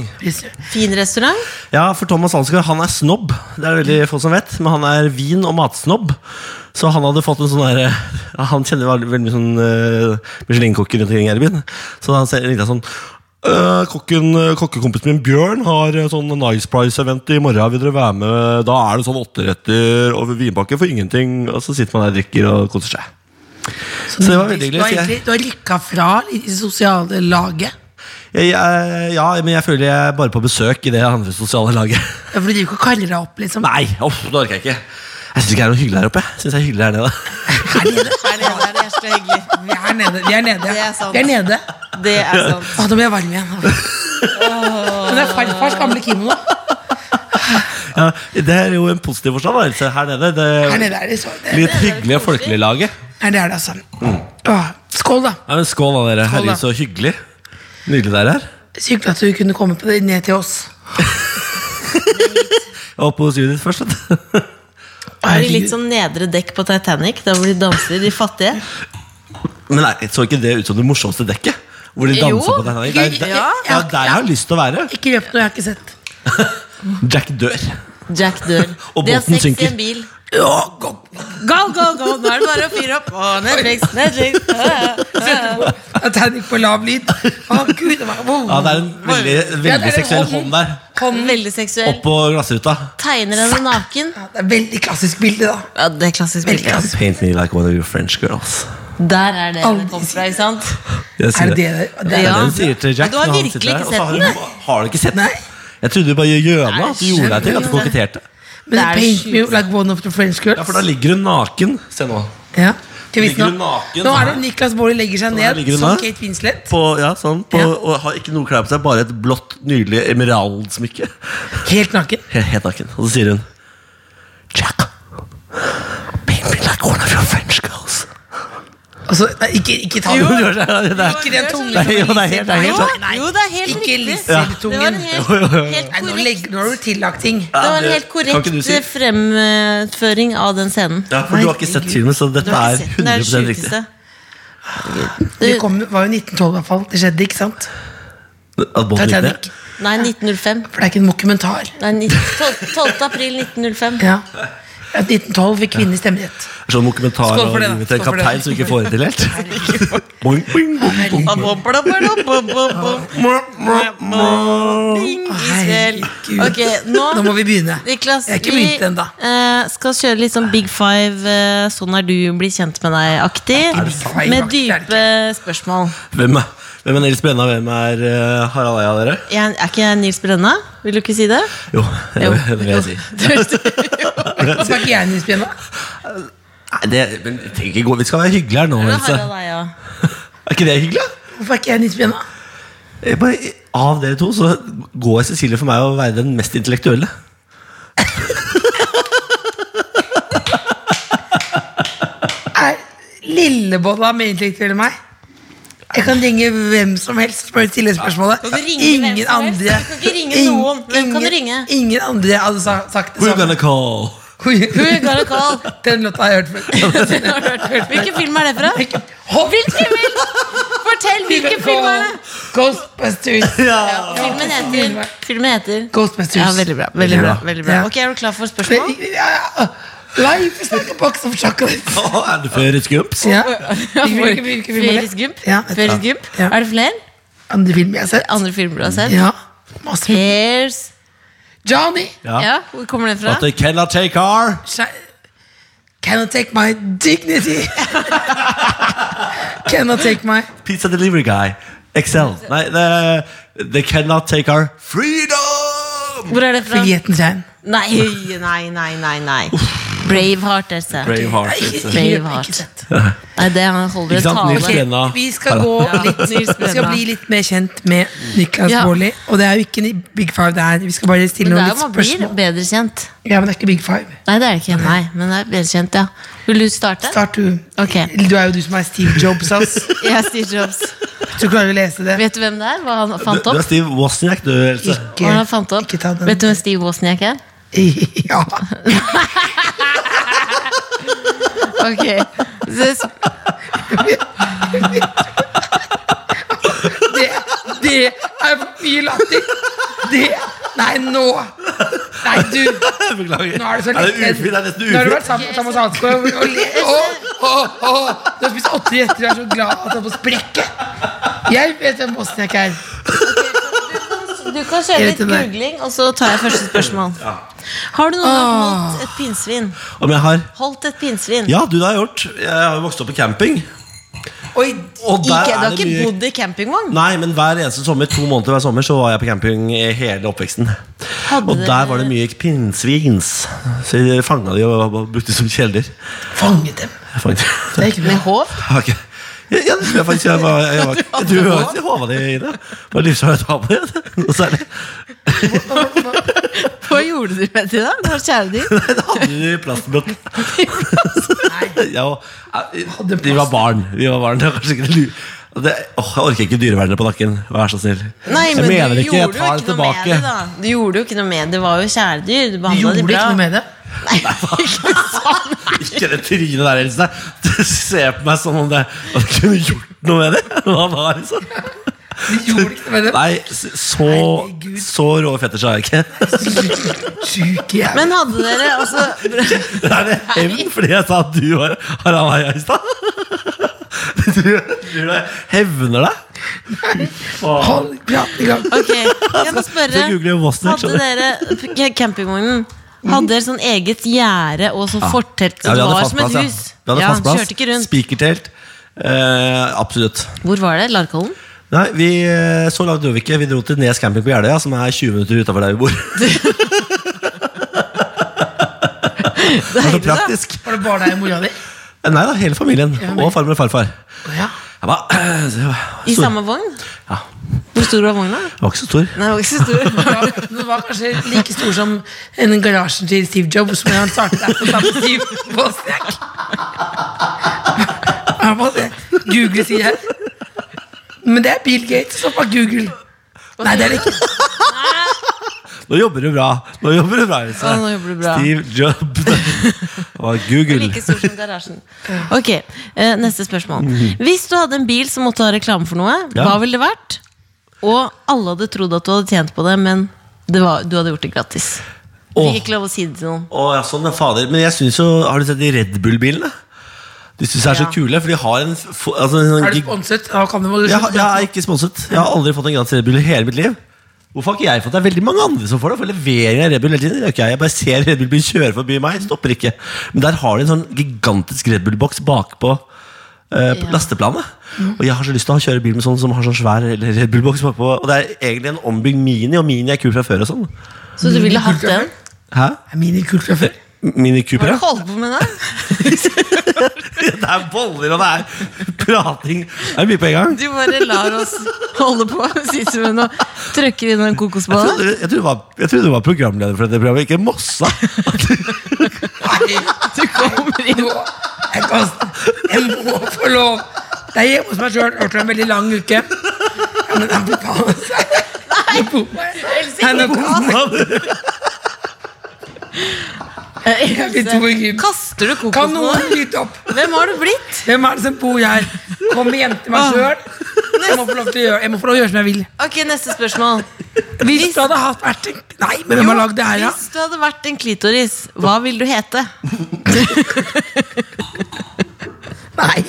D: Fin restaurant.
E: Ja, for Thomas Alsgaard, han er snobb. Det er det veldig få som vet, men han er vin- og matsnobb. Så han hadde fått en sånn derre ja, Han kjenner veldig, veldig mye sånn uh, Michelin-kokker rundt omkring her i byen. Så han ser litt sånn «Øh, kokken, øh, Kokkekompisen min Bjørn har øh, sånn Nice Price-event i morgen. Vil dere være med? Da er det sånn åtteretter og vinpakke for ingenting. Og så sitter man der og drikker og koser seg. Så det var veldig
C: Sånn Du
E: hyggelig.
C: har,
E: så jeg-
C: egentlig, du har rykka fra i det sosiale laget.
E: jeg, jeg, ja, men jeg føler jeg er bare på besøk i det andre sosiale laget.
C: Ja, For du driver ikke og kaller deg opp, liksom.
E: Nei, uff, det orker jeg ikke. Jeg syns ikke det er noe hyggelig her oppe. Jeg synes det er hyggelig her nede
C: Her nede.
D: Er det, er det så hyggelig?
C: Vi er nede. Vi er nede.
D: Det er sant.
C: Vi er nede.
D: Det er sant.
C: Å, nå blir jeg varm igjen. Men det er farfars gamle kimono.
E: ja, Det er jo en positiv forstand. da, Else. Her nede. Det
C: Her nede er det så det-
E: litt hyggelige folkelige laget.
C: Nei, det er det, altså.
E: Mm.
C: Åh, skål, da.
E: Nei, men Skål, da, dere.
C: Skål, da.
E: Herregud, så hyggelig. Nydelig det er her.
C: Så hyggelig at du kunne komme på det ned til oss.
E: Jeg var på studiet ditt først. vet du.
D: Er det litt sånn nedre dekk på Titanic? Der hvor de danser, de fattige?
E: Men nei, så ikke det ut som det morsomste dekket? Hvor de danser
D: Jo.
E: på Titanic? Det er der,
C: Ja.
E: det er der jeg har lyst til å være.
C: Ikke røp noe jeg har ikke sett.
E: Jack dør.
D: Jack dør.
E: Og
D: de har
E: båten
D: sex i
E: synker.
D: en bil.
C: Ja, gå-
D: Go, go, go! Nå er det bare å fyre opp. Å, Netflix, Netflix.
C: Titanic på lav lyd. Å, gud. det var- wow.
E: Ja, Det er en veldig,
C: Ja, det er
E: veldig
C: en
E: seksuell
C: hånd.
E: hånd der.
D: Kom, Veldig seksuell.
E: Oppå glassruta.
D: Tegner henne naken.
C: Ja, det er veldig klassisk bilde, da.
D: Ja, det er klassisk
C: Veldig
D: bilde.
C: klassisk.
E: Paint me like one of your French girls.
D: Der er det
C: Aldri
D: det kom fra, ikke sant?
E: Jeg
C: Er
E: sier
C: det det? det er,
E: Det
D: Ja.
E: er det hun sier til Jack
D: Men du har
E: når han
D: virkelig
E: sitter der,
D: ikke
E: og så
D: sett
E: har
D: den,
E: hun- Har du ikke sett den?
C: Nei.
E: Jeg trodde du bare gjør gjøna.
D: Nei,
E: At du gjorde deg til at du
D: skjønner.
E: koketterte.
C: men
D: Det er
C: paint
D: sjukt.
C: me like one of the French girls.
E: Ja, for da ligger hun naken. Se nå.
C: Ja. Skal vi
E: Ligger
C: snakke-
E: du naken
C: Nå er
E: sånn
C: det Niklas Baarli legger seg
E: her
C: ned
E: ligger du
C: som
E: da.
C: Kate Winslet.
E: På, ja, sånn, på,
C: Ja.
E: Og har ikke noe klær på seg, bare et blått, nydelig emeraldsmykke.
C: Helt naken.
E: Helt, helt naken. Og så sier hun Jack, paint me like one of your French girls.
C: Altså, nei, ikke, ikke ta
E: Jo,
C: den.
E: det er- det er-
C: Ikke den tungen.
E: Nei, jo, det er helt- det er helt
C: Nei,
E: sant.
C: nei,
D: Jo, det er helt
C: ikke
D: riktig. Det var
C: Liseltungen.
D: en
C: Nei, nå,
D: helt, helt korrekt,
C: legger- nå har du tillagt ting.
D: det var en
E: det
D: helt
E: kan ikke du
D: korrekt eh,
E: si.
D: fremføring av den scenen.
E: Ja, for du har ikke sett filmen, så dette
D: Du har
E: er
D: ikke sett den, det
E: 100
D: det
E: riktig.
D: sjukeste.
C: Det kom, var jo 1912, i hvert fall. Det skjedde, ikke sant?
E: At Bond gikk ned.
C: Titanic.
D: Nei, 1905.
C: For det er ikke en mokumentar.
D: Nei, ni- 12. 12. april 1905.
C: Ja. At 1912 fikk kvinner stemmerett.
E: Sånn dokumentar
C: Skål
E: av
C: for det, da.
E: livet til en
C: Skål for det.
E: kaptein som ikke får det til helt. Boing, boing, boing, boing.
D: Ding, Israel.
C: Herregud.
D: Ok, nå,
C: Nå må vi begynne.
D: Niklas,
C: Jeg er ikke
D: vi
C: begynt ennå.
D: eh, skal kjøre litt sånn Big Five, eh, sånn er du, bli kjent med deg-aktig.
C: sant?
D: Med
C: Det er det
D: dype spørsmål.
E: Hvem er, hvem er Nils Brenna, hvem er eh, Harald Eia, dere?
D: Jeg, er ikke jeg Nils Brenna? Vil du ikke si det?
E: Jo, det
D: Jo.
E: vil jeg si.
C: Nå snakker jeg nyspjenna.
E: Nei, det, men vi trenger ikke gå, vi skal være hyggelige her nå.
D: Det er
E: Else.
D: Harald Eia.
E: Er ikke det hyggelig? da?
C: Hvorfor er ikke jeg nyspjenna?
E: Jeg Bare, av dere to så går Cecilie for meg å være den mest intellektuelle.
C: Er lillebolla mer intellektuell enn meg? Jeg kan ringe hvem som helst for å stille spørsmålet.
D: Kan du ringe hvem
C: Ingen
D: som helst?
C: andre.
D: Du kan ikke ringe
C: Ingen-
D: noen. Hvem kan du ringe?
C: ingen- Ingen andre hadde sa- sagt det
E: We're
C: samme.
E: gonna call
D: Who you gonna call?
C: Den låta har jeg hørt før.
D: Hvilken film er det fra?
C: Hopp,
D: Hvilken film? Fortell, hvilken film er det?
C: Ghostbusters.
D: Filmen heter, filmen heter.
C: Ghostbusters.
D: Ja, veldig bra. Veldig bra,
E: Ja.
D: veldig bra.
C: Ja.
D: Ok, Er du klar for spørsmål?
C: Life is like a box of chocolates.
E: Å, Er det før et skumps?
C: Ja. Hvilke- hvilke film er
D: Felix
C: det?
D: Gump?
C: Ja.
D: Felix Gump?
C: Ja.
D: Er det flere?
C: Andre film jeg har sett.
D: Andre filmer du har sett?
C: Ja. Masse film.
D: Pairs
C: Johnny!
E: Ja.
D: Ja, hvor kommer den fra?
E: At they cannot take our
C: Sh- Can I take my dignity? Can I take my
E: pizza delivery guy. Excel. Nei, det- they cannot take our freedom!
D: Hvor er det fra?
C: Friheten regn?
D: Nei, nei, nei, nei, nei. Braveheart, Else.
E: Braveheart. Else.
D: Braveheart. Nei, det han holder
E: Ikke
D: en
E: sant, Nils
D: tale.
E: Brenna?
C: Vi skal gå
D: Ja,
C: litt Vi
D: Nils
C: skal
D: Brenna.
C: bli litt mer kjent med Niklas
D: Ja.
C: Baarli. Og det er jo ikke en Big Five det er. Vi skal bare stille
D: Men det
C: noen
D: er jo
C: litt
D: man blir
C: spørsmål.
D: bedre kjent.
C: Ja, men det er ikke Big Five.
D: Nei, det er det ikke. Nei, men det er bedre kjent, ja. Vil du starte?
C: Start du.
D: Ok.
C: Du er jo du som er Steve Jobs, ass.
D: Jeg er Steve Jobs.
C: Så klarer du å lese det.
D: Vet du hvem det er? Hva han
E: Du,
D: fant
E: du er
D: opp?
E: Steve Wozniak, du, Else.
D: Hva
C: Ikke,
D: han fant opp?
C: ikke ta den.
D: Vet du hvem Steve Wozniak er?
C: Ja.
D: Ok. Så-
C: Det, det er for mye latter! Det Nei, nå! Nei, du!
E: Beklager.
C: Nå er det så
E: Er
C: lett.
E: det ufint? Er det nesten
C: Nå har du
E: ufint?
C: vært sammen med Thomas Hansgaard og, og, le- Å, å, å. Du har spist åtte retter og er så glad at du er på sprekket. Jeg vet hvem Bosniak er.
D: Du kan kjøre
C: Jeg vet
D: litt
C: hvem det er.
D: googling, og så tar jeg første spørsmål. Har du noen gang holdt et pinnsvin?
E: Om jeg har
D: Holdt et pinnsvin?
E: Ja, du det har jeg gjort. Jeg har jo vokst opp på camping.
C: Oi,
E: Og
D: Ikke,
E: der
D: du har
E: er det
D: ikke
E: mye
D: bodd i campingvogn?
E: Nei, men hver eneste sommer, to måneder hver sommer, så var jeg på camping hele oppveksten.
D: Hadde
E: Og
D: dere-
E: der var det mye pinnsvins. Så jeg fanga de og og brukte som kjæledyr.
C: fanget dem.
E: Jeg fanget
C: Det er ikke bra.
D: Med håv?
E: Jeg har ikke- Ja, det tror jeg faktisk. Jeg, var, jeg, var, jeg tror jeg faktisk jeg håva det i det. Det var livsfarlig å ta på det. Noe særlig.
D: Hva gjorde du med det da? Det var kjæledyr?
E: Nei, Da hadde de plastbøtter. Ja, og- eh,
C: Hadde
E: vi var barn. Vi var barn. Det var kanskje ikke det lu- det, åh, jeg orker ikke dyrevernet på nakken. Vær så snill.
D: Nei,
E: jeg
D: men
E: mener
D: du
E: ikke, jeg
D: gjorde jo
E: tar det
D: ikke noe med
E: tilbake.
D: det, da. Du gjorde jo ikke noe med det. Det var jo kjæledyr. Du
C: Du
D: behandla
C: gjorde
D: de bra.
C: ikke noe med det.
E: Ikke det trynet der, Else. Du ser på meg som om det at jeg kunne gjort noe med det. Hva da, liksom?
C: Du gjorde ikke noe med det.
E: Nei, s- så,
C: Herregud.
E: så rå fetters har jeg ikke.
C: Sjuk jævel.
D: Men hadde dere altså
E: Det er det hevn fordi jeg sa at du var Harald i stad. Du, du hevner deg.
C: Hold praten i gang.
D: Ok, jeg må spørre.
E: Så googler jeg Wozniak,
D: Hadde dere ca- campingvognen Hadde dere sånn eget gjerde og sånn fortelt?
E: Ja,
D: Så det var som et
E: ja.
D: hus?
E: Vi hadde
D: Ja,
E: fast plass.
D: Kjørte ikke rundt.
E: Spikertelt. Eh, absolutt.
D: Hvor var det? Larkollen?
E: Nei, vi, eh, Så langt dro vi ikke. Vi dro til Nes camping på Jeløya, som er 20 minutter utafor der vi bor. Det var så praktisk.
C: Var det bare deg og mora di?
E: Nei da, hele familien.
C: men-
E: Og farmor og farfar.
C: Å Ja.
E: Jeg var, så jeg var
D: I
E: stor.
D: samme vogn?
E: Ja,
D: Hvor stor var vogna?
E: jeg var ikke så stor.
D: Nei, det var ikke så stor.
C: Ja, Den var kanskje like stor som en garasjen til Steve Jobs, men han startet der på samme Steve Bosniak. Ja, Bosniak. Google sier. Men det er Bill Gates som har Google. Nei, det er det ikke.
E: Nå jobber du bra. Nå jobber du bra, Else.
D: Ja, nå jobber du bra.
E: Steve Job. Det var Google.
D: Like stor som garasjen. Ok, eh, Neste spørsmål. Hvis du hadde en bil som måtte ha reklame for noe,
E: Ja.
D: hva ville det vært? Og alle hadde trodd at du hadde tjent på det, men det var, du hadde gjort det gratis. Du
E: Åh.
D: fikk ikke lov å si det til noen.
E: Å, ja, sånn, ja, fader. Men jeg synes jo Har du sett de Red Bull-bilene? De syns jeg er så
D: Ja.
E: kule, for de har en f- altså, en sånn
C: Er du
E: gig-
C: sponset? Da kan du må du
E: jeg, har-
C: slutte.
E: jeg er ikke sponset. Jeg har aldri fått en gratis Red Bull i hele mitt liv. Hvorfor har ikke jeg fått det? Det er veldig mange andre som får det. For levering av Red Bull hele tiden. det er ikke jeg. jeg bare ser Red Bull-byen kjøre forbi meg. Stopper ikke. Men der har de en sånn gigantisk Red Bull-boks bakpå eh, på
D: Ja.
E: lasteplanet. Og jeg har så lyst til å kjøre bil med sånn som har sånn svær Red Bull-boks bakpå. Og det er egentlig en ombygd Mini, og Mini er kul fra før og sånn.
D: Så du ville hatt den?
E: Hæ?
C: Er Minikult fra før.
E: Mini
D: Hva
E: Cooper,
D: er det
E: ja?
D: du holder på med da?
E: Det er boller, og det er prating. Det er mye på en gang.
D: Du bare lar oss holde på. Sitter med noe, trykker inn en
E: Jeg
D: kokosbolle.
E: trodde, jeg, trodde du var, jeg trodde du var programleder for dette programmet, ikke Mossa.
D: Du kommer inn
C: Jeg, kan, jeg må få lov. Det er hjemme hos meg sjøl. Hørte en veldig lang uke. Ja, men jeg må ta meg selv. Nå bomma jeg. Nei, nå bomma jeg. Jeg blir to i gym.
D: Kaster du
C: Kan
D: kokosboller?
C: noen lytte opp?
D: Hvem har du blitt?
C: Hvem er det som bor her? Kommer hjem til meg sjøl. Jeg må få lov til å gjøre, jeg må få lov til å gjøre som jeg vil.
D: Ok, neste spørsmål.
C: Hvis du hadde hatt vært en Nei, men hvem har lagd det her, da?
D: Hvis du hadde vært en klitoris, hva ville du hete?
C: Nei,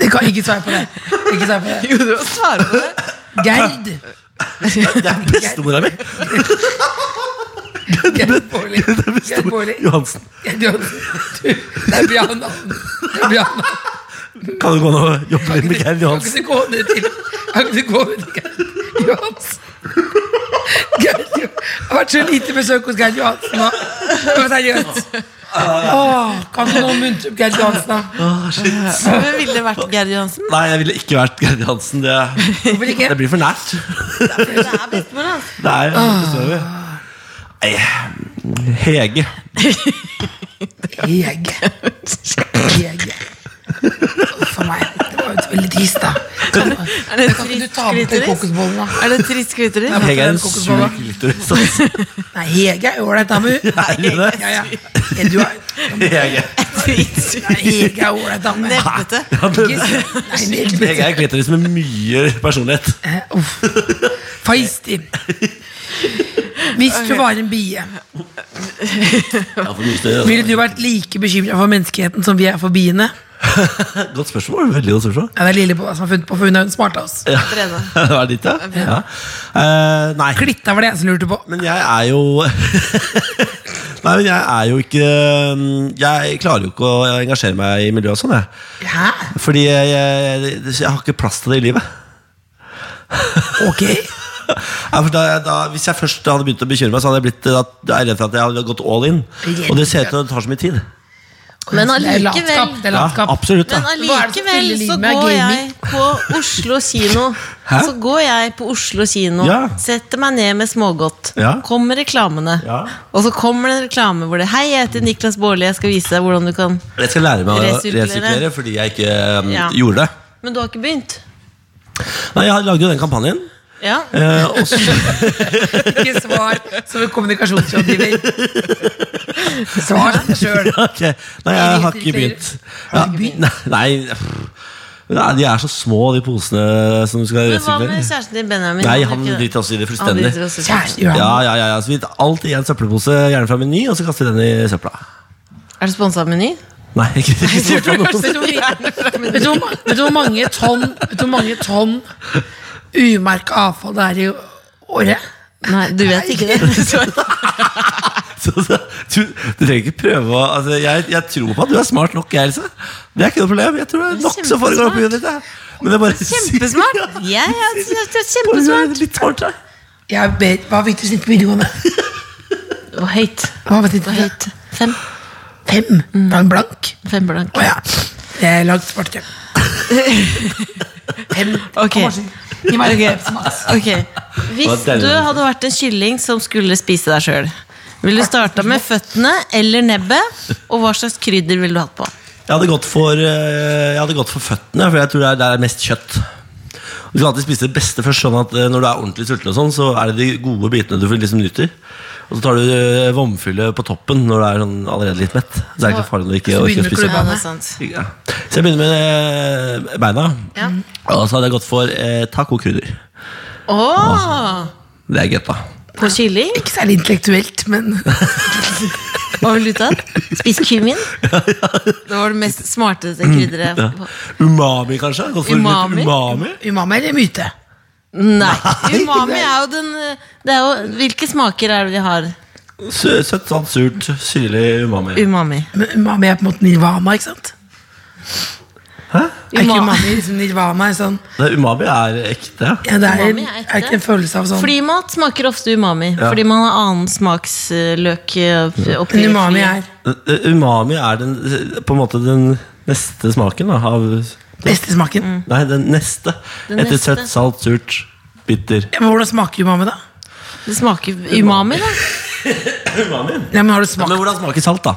C: det kan ikke svare på det. Ikke svare på det.
D: Jo, du må svare på det.
C: Gerd.
E: Det er bestemora mi!
C: Gerd Bårli. Gerd Bårli.
E: Johansen.
C: Gerd Johansen. Du, Det er Bjarne Anden. Det er Bjarne Anden.
E: Kan du gå nå og jobbe litt med Gerd
C: Kan ikke
E: Johansen?
C: du gå ned til Kan ikke du gå ned til Gerd Johansen? Gerd Johansen. Det har vært så lite besøk hos Gerd Johansen nå. Men Seriøst. Åh, kan ikke noen muntre opp Gerd Johansen, da?
E: Åh, shit.
D: Hvem ville det vært Gerd Johansen?
E: Nei, jeg ville ikke vært Gerd Johansen. Det,
C: Hvorfor ikke?
E: det blir for nært.
D: Det er bestemor hans.
E: Det er bestemora mi. Nei, Hege.
C: Jeg. Jeg. For meg. Det var jo veldig trist, da. Kan du,
D: Er det
C: kan ikke du
D: trist
C: ta med den
D: klitoris?
C: kokosbollen, da?
D: Er det trist klitoris?
C: Jeg må
E: Hege
C: prøve
E: er en sur
C: kokosbolla.
E: klitoris. altså.
C: Nei, Hege er jo ålreit dame. hun.
E: Er hun det?
C: Ja, ja. Ja, du er-
E: Hege.
D: Dritsur.
C: Nei, Hege er ålreit dame.
D: Nebbete.
E: Ja,
C: Ikke
E: men-
C: sur. Nei, nebbete.
E: Hege er en klitoris med mye personlighet.
C: Eh, Uff. Feisty. Hvis du var en bie,
E: Ja, for mye større, altså.
C: ville du vært like bekymra for menneskeheten som vi er for biene?
E: Godt spørsmål. Veldig godt spørsmål.
C: Ja, det er Lilleboa som har funnet på, for hun er den smarte av oss.
D: Brenne.
E: Det var ditt, ja? ja. Eh, nei.
C: Klitta var det jeg som lurte på.
E: Men jeg er jo Nei, men jeg er jo ikke mm, Jeg klarer jo ikke å engasjere meg i miljøet og sånn, jeg.
C: Hæ?
E: Fordi jeg, jeg, jeg har ikke plass til det i livet.
C: Ok.
E: Nei, for da, da, hvis jeg først hadde begynt å bekymre meg, Så hadde jeg blitt da, da er jeg redd for at jeg hadde gått all in. Og det ser ut til at det tar så mye tid.
D: Men
C: Det er
D: allikevel-
C: latskap. Det er
E: Ja,
C: latskap.
E: absolutt.
D: Men
E: da
C: Hva er det som
D: allikevel
C: fyller
D: så
C: livet med
D: går jeg
C: gaming?
D: på Oslo kino.
E: Hæ?
D: Så går jeg på Oslo kino,
E: Ja.
D: setter meg ned med smågodt.
E: Ja.
D: Kommer reklamene.
E: Ja.
D: Og så kommer det en reklame hvor det Hei, jeg heter Niklas Baarli, jeg skal vise deg hvordan du kan
E: Jeg skal lære meg å
D: Resirkulere.
E: resirkulere fordi jeg ikke um,
D: Ja.
E: gjorde det.
D: Men du har ikke begynt?
E: Nei, Jeg lagde jo den kampanjen.
D: Ja.
E: eh, og så
C: Ikke svar som en kommunikasjonsrådgiver. Svar deg sjøl.
E: Ja, ok. Nei, jeg har ikke begynt. Ja, nei, nei, pff. nei, de er så små, de posene som skal
D: Men hva med
E: resirkulere.
D: kjæresten din, Benjamin?
E: Nei,
D: Hadde
E: han
D: ikke det?
E: driter også i det
D: Han
E: fullstendig.
D: driter også i det.
C: Kjære Johan.
E: Ja, ja, ja, ja. Så vi tar alt i en søppelpose, gjerne fra Meny, og så kaster vi den i søpla.
D: Er det sponsa Meny?
E: Nei, ikke, ikke så fra noen.
C: Vet du hvor mye- vet du hvor ma- vet du hvor mange tonn Vet du hvor mange tonn umerka avfall det er i året?
D: Nei, du vet ikke det.
E: Så, så, du, du trenger ikke prøve å altså, jeg, jeg tror på at du er smart nok, jeg, Else. Det er ikke noe problem. Jeg tror det er nok som foregår oppi huet ditt. jeg. Men det er bare
D: Kjempesmart! Ja, ja, jeg synes det er kjempesmart.
E: Litt smart, da.
C: Jeg ber, hva fikk du snitt på videregående?
D: Det var høyt.
C: Hva var det,
D: Det var høyt. Fem.
C: Fem?
D: Mm.
C: Var den blank?
D: Fem blank.
C: Å ja. Jeg er langt smartere. Fem.
D: Ok.
C: Kom, Martin. Gi meg en greps, Mats.
D: Ok, Hvis
E: Det var
D: du
E: deilig.
D: hadde vært en kylling som skulle spise deg sjøl, ville du starta med føttene eller nebbet? Og hva slags krydder ville du hatt på?
E: Jeg hadde gått for, eh, jeg hadde gått for føttene, for jeg tror det er der det er mest kjøtt. Du skal alltid spise det beste først, sånn at eh, når du er ordentlig sulten, og sånn, så er det de gode bitene du får liksom nyter. Og så tar du eh, vomfyllet på toppen når du er sånn allerede litt mett. Så det er ikke så farlig å ikke
C: Så
E: orke
C: begynner
E: å
C: du
E: spise.
C: klubba.
D: Ja, det er sant.
E: Ja. Så jeg begynner med eh, beina.
D: Ja.
E: Og så hadde jeg gått for eh, tacokrydder.
D: Åh,
E: Det er gøy, da.
D: på kylling?
C: Ikke særlig intellektuelt, men
D: Hva ville du tatt? Spist kumin? Det var det mest smarteste krydderet.
E: Ja. Umami, kanskje? Gått for litt
D: Umami?
E: umami?
C: umami eller myte?
D: Nei, umami er jo den eh, det er jo, Hvilke smaker er det de har?
E: Sø- Søtt, salt, surt, syrlig umami.
D: Umami.
C: Men Umami er på en måte nirvana, ikke sant?
E: Hæ?
C: Er ikke
D: Uma-
C: umami liksom nirvana er sånn
E: Det, umami er ekte.
C: ja, Det er,
D: Umami er
C: er
D: ekte.
C: ikke en følelse av sånn
D: Flymat smaker ofte umami,
E: Ja.
D: fordi man har annen smaksløk eh, oppi
C: Men umami er
E: Eh, Umami er den, eh, på en måte den neste smaken da, av
C: beste smaken.
D: Mm.
E: Nei, den neste.
D: Den
E: Etter
D: neste.
E: søtt, salt, surt, bitter.
C: Ja, men Hvordan smaker umami, da?
D: Det smaker umami, da.
E: Umami?
C: Ja, men har du
E: Ja,
C: smakt
E: men hvordan smaker salt, da?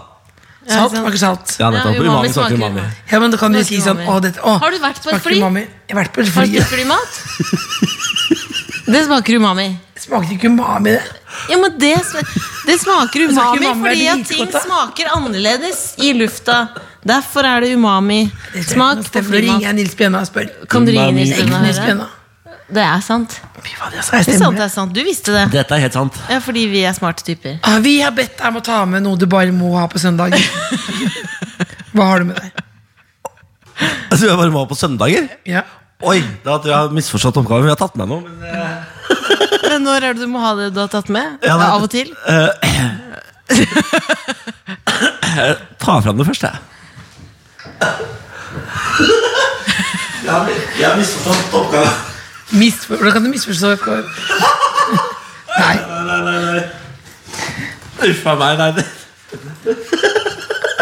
D: Ja,
C: salt?
D: sant.
C: Smaker salt.
E: Ja, nettopp.
D: Ja,
E: umami,
D: umami
E: smaker
D: smaker
E: umami.
D: umami.
C: Ja, men da kan du
D: Smaker
C: si sånn
D: umami.
C: å, dette, å,
D: Har du vært på et
C: smaker
D: fly?
C: Umami. Jeg har vært på et
D: Har du
C: fly.
D: spist flymat? Det smaker umami.
C: Smakte ikke umami, det.
D: Ja, men det, sm- det
C: smaker
D: smaker umami
C: umami, er
D: fordi
C: det
D: at
C: like
D: ting
C: godt, da?
D: smaker annerledes i lufta. Derfor er det umami. Smak på
C: Nå ringer
D: flymat.
C: jeg Nils Bjønna og spør.
D: Kan du ringe
E: Umami.
D: Nils
C: Jeg er ikke
D: Bjørnar
C: Nils
D: Høyre?
C: Bjønna.
D: Det er sant.
C: Fy faen, jeg sa jeg
D: Det er sant,
C: stemmer.
D: det er sant. Du visste det.
E: Dette er helt sant.
D: Ja, fordi vi er smarte typer.
C: Ah, vi har bedt deg om å ta med noe du bare må ha på søndag. Hva har du med deg?
E: Altså, jeg bare må på søndager.
C: Ja.
E: Oi, da tror jeg jeg har misforstått oppgaven. Vi har tatt med noe. Men, eh,
D: Men når er det du må ha det du har tatt med?
E: Ja, det-
D: Av og til?
E: ta fram det først, jeg. Jeg har- Jeg har misforstått oppgaven.
C: Misfor Hvordan kan du misforstå oppgaven? Nei.
E: Uff a meg. Nei, det.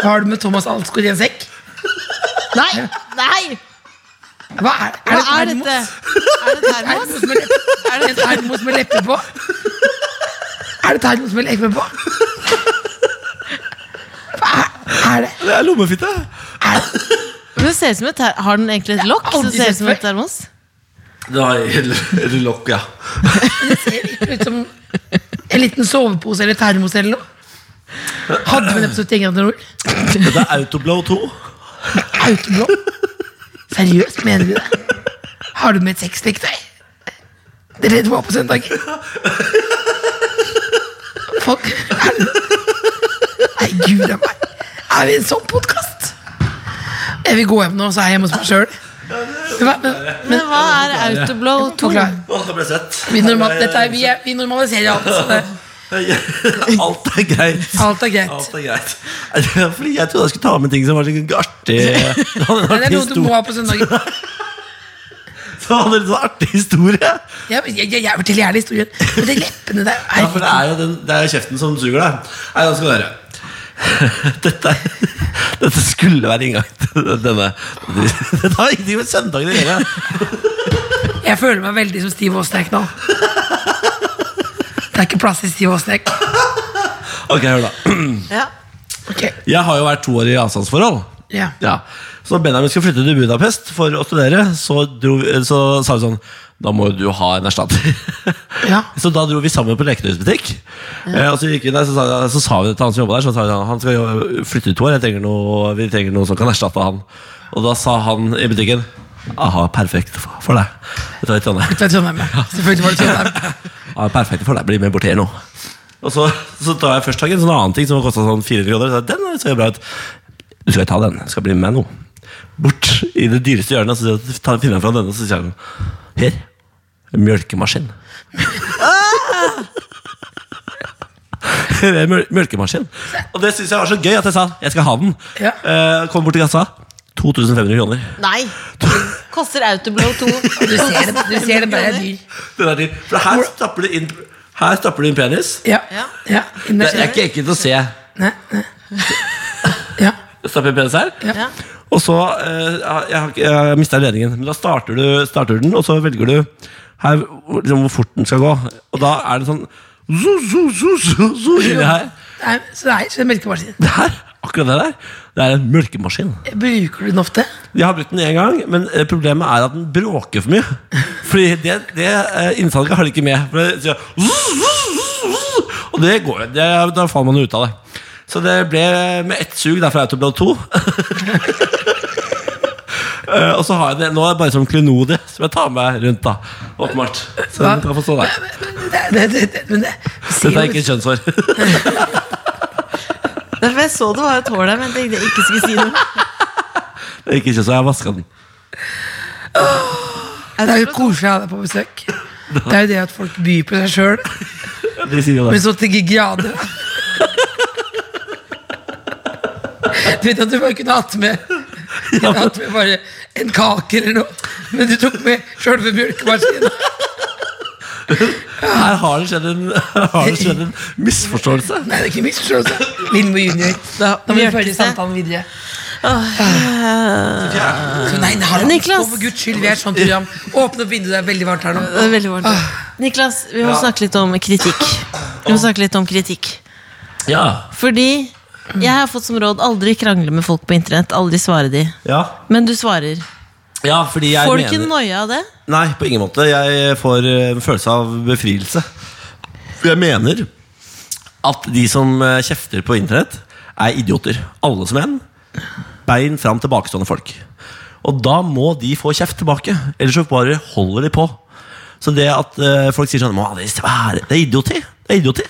C: Hva har du med Thomas Alsgaard i en sekk?
D: Nei! Nei!
C: Hva er,
D: Hva
C: er,
D: er
C: det
D: dette?
C: termos?
D: Er det termos?
C: Er det Er det en termos med leppe på? Er det termos med leppe på? Hva er, er det?
E: det er lommefitte.
D: Men Det ser ut som et ter Har den egentlig et lokk?
C: aldri
D: som ser ut
C: sett
D: som et
C: før.
D: termos?
E: Det var lokk, ja.
C: ser ikke ut som en liten sovepose eller termos eller noe. Hadde vi det på 71 grader nord?
E: Dette er Autoblow 2.
C: Autoblå? Seriøst, mener du det? Har du med et sexleketøy? Det er det du har på søndag. Folk er det- Nei, gud a meg. Er vi en sånn podkast? Jeg vil gå hjem nå, så er jeg hjemme hos meg sjøl.
D: Men hva er Autoblow 2?
E: Åh, det ble svett.
C: Vi, normal, dette er, vi, er, vi normaliserer alt. Så det,
E: Alt er greit.
C: alt er greit.
E: Alt er greit. Fordi jeg trodde jeg skulle ta med ting som var litt artig. Det hadde
C: Men
E: en
C: det er
E: artig
C: noe du må
E: historie.
C: ha på søndager.
E: Det hadde en sånn artig historie.
C: Jeg, jeg, jeg, jeg forteller gjerne historien. Men det er leppene der
E: Ja, for det er jo den, det er jo kjeften som suger deg. Nei, da skal du høre. Dette, er- dette skulle være inngang til denne Dette har ingenting med søndagen å gjøre.
C: Jeg føler meg veldig som Steve Aasnek nå. Det er ikke plass til Steve Aasnek.
E: Ok, hør da.
D: Ja.
C: Ok,
E: Jeg har jo vært to år i avstandsforhold.
C: ja.
E: Ja. Så da Benjamin skulle flytte til Budapest for å studere, så, dro, så sa vi sånn Da må jo du ha en erstatter.
C: Ja.
E: Så da dro vi sammen på leketøysbutikk. Eh, og så, gikk vi der, så, sa, så sa vi det til han som jobba der, så sa vi sånn, han skal jo flytte ut to år, jeg trenger noe, vi trenger noe som kan erstatte han. Og da sa han i butikken Aha, perfekt for deg. Dette var i Trondheim.
C: Det er Trondheim, ja. Selvfølgelig var det Trondheim.
E: Ja, perfekt for deg, bli med bort her nå Og så, så tar jeg først tak i en sånn annen ting Som har kostet sånn 400 kroner så jeg, Den ser jo bra ut Du skal ikke ta den, du skal bli med meg nå Bort i det dyreste hjørnet Så sier jeg, ta- finner jeg fra denne Så sier han Her, en mjølkemaskin Her er en mjøl- mjølkemaskin Og det synes jeg var så gøy at jeg sa Jeg skal ha den
C: Ja.
E: Eh, Kom bort til kassa 2500 kroner
D: Nei. Koster Autoblow 2
C: Du ser det, du ser det bare er dyr.
E: Den er din. For her stapper du inn Her stapper du inn penis
C: Ja.
D: Ja.
C: ja.
E: Det
C: innerst
E: er
C: inne.
E: ikke ekkelt å se
C: Nei, nei. Ja.
E: Stapper penis her
D: Ja.
E: Og så eh, Jeg har ikke- jeg mista ledningen, men da starter du, starter du den, og så velger du her, hvor- liksom, hvor fort den skal gå. Og da er det sånn zo, zo, zo, zo, zo, inni her.
C: Nei, så det er ikke en melkemaskin.
E: Det her, akkurat det der. Det er en mølkemaskin.
C: Bruker du den ofte?
E: Jeg har brukt den én gang, men eh, problemet er at den bråker for mye. Fordi det, det eh, innsalget har de ikke med. For det sier Og det går jo. Det, da faller man jo ut av det. Så det ble med ett sug derfor Autoblad 2. Eh, og så har jeg det nå er det bare som klenodie, som jeg tar med rundt. da Åpenbart. Så den kan få stå der.
C: Det, det, det, det, men det,
E: Dette er ikke kjønnshår.
D: Derfor jeg så det var et hår der, men jeg tenkte jeg ikke skulle si noe.
E: Det er ikke kjønnshår, Jeg har vaska den.
C: det er jo koselig å ha deg på besøk. Det er jo det at folk byr på seg sjøl,
E: De sier jo det.
C: men så til de grader. Du vet at du bare kunne hatt med, kunne hatt med bare en kake eller noe, men du tok med sjølve mjølkemaskinen.
E: Her har det skjedd en, her har det skjedd en misforståelse.
C: Nei, det er ikke misforståelse. Lindmo junior. Da, må vi følge samtalen videre. Så nei, nei, hallo.
D: Niklas.
C: Å, For guds skyld, vi er et sånt program. Åpne opp vinduet, det er veldig varmt her nå.
D: Det er veldig varmt.
C: Ah.
D: Niklas, vi må snakke litt om kritikk. Vi må snakke litt om kritikk.
E: Ja.
D: Fordi jeg har fått som råd aldri krangle med folk på internett. Aldri svare de.
E: Ja.
D: Men du svarer.
E: ja, fordi jeg
D: Får du ikke
E: mener
D: noia av det?
E: Nei, på ingen måte. Jeg får eh, en følelse av befrielse. For Jeg mener at de som eh, kjefter på internett, er idioter. Alle som en. Bein fram tilbakestående folk. Og da må de få kjeft tilbake. Ellers så bare holder de på. Så det at eh, folk sier sånn «Må aldri svare», Det er idioti. Det er idioti.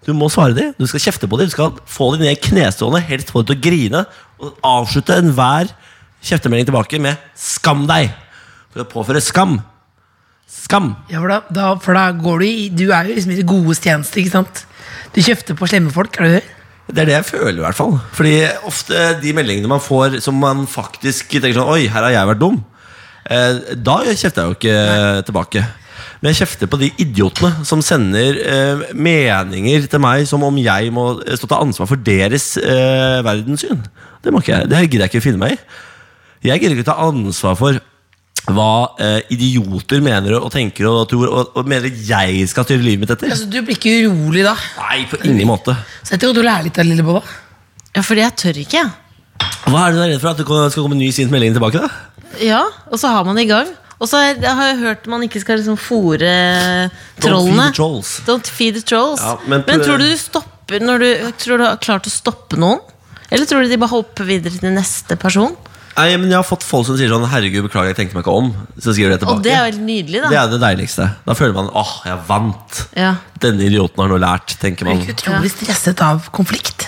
E: Du må svare dem. Du skal kjefte på dem. Du skal få dem ned i knestående, helst få dem til å grine. Og avslutte enhver kjeftemelding tilbake med 'skam deg'. For å påføre skam. Skam.
C: Ja, for da, da, for da går du i Du er jo liksom i det godes tjeneste, ikke sant? Du kjefter på slemme folk, er du det?
E: Det er det jeg føler, i hvert fall. Fordi ofte de meldingene man får som man faktisk tenker sånn Oi, her har jeg vært dum. Eh, da kjefter jeg jo ikke eh, tilbake. Men jeg kjefter på de idiotene som sender eh, meninger til meg som om jeg må eh, stå til ansvar for deres eh, verdenssyn. Det, må ikke jeg, det gidder jeg ikke finne meg i. Jeg gidder ikke ta ansvar for hva eh, idioter mener og tenker og tror, og, og mener jeg skal styre livet mitt etter.
C: Altså, du blir ikke urolig da.
E: Nei, på ingen måte.
C: Så jeg tror du lærer litt av Lillebolla.
D: Ja, fordi jeg tør ikke. jeg.
E: Hva er du er redd for? At det skal komme en ny sint melding tilbake? da?
D: Ja, og så har man det i gang. Og så er- har jeg hørt man ikke skal liksom fòre trollene.
E: the trolls.
D: Don't feed the trolls.
E: Ja, men-
D: men, tror du du stopper når du tror du har klart å stoppe noen? Eller tror du de bare hopper videre til neste person?
E: Nei, men Jeg har fått folk som sier sånn 'herregud, beklager, jeg tenkte meg ikke om'. Så skriver de tilbake.
D: Og det er jo helt nydelig,
E: Det
D: da.
E: er det deiligste. Da føler man 'åh, jeg vant'.
D: Ja.
E: Denne idioten har noe lært, tenker man.
C: Blir utrolig stresset av konflikt.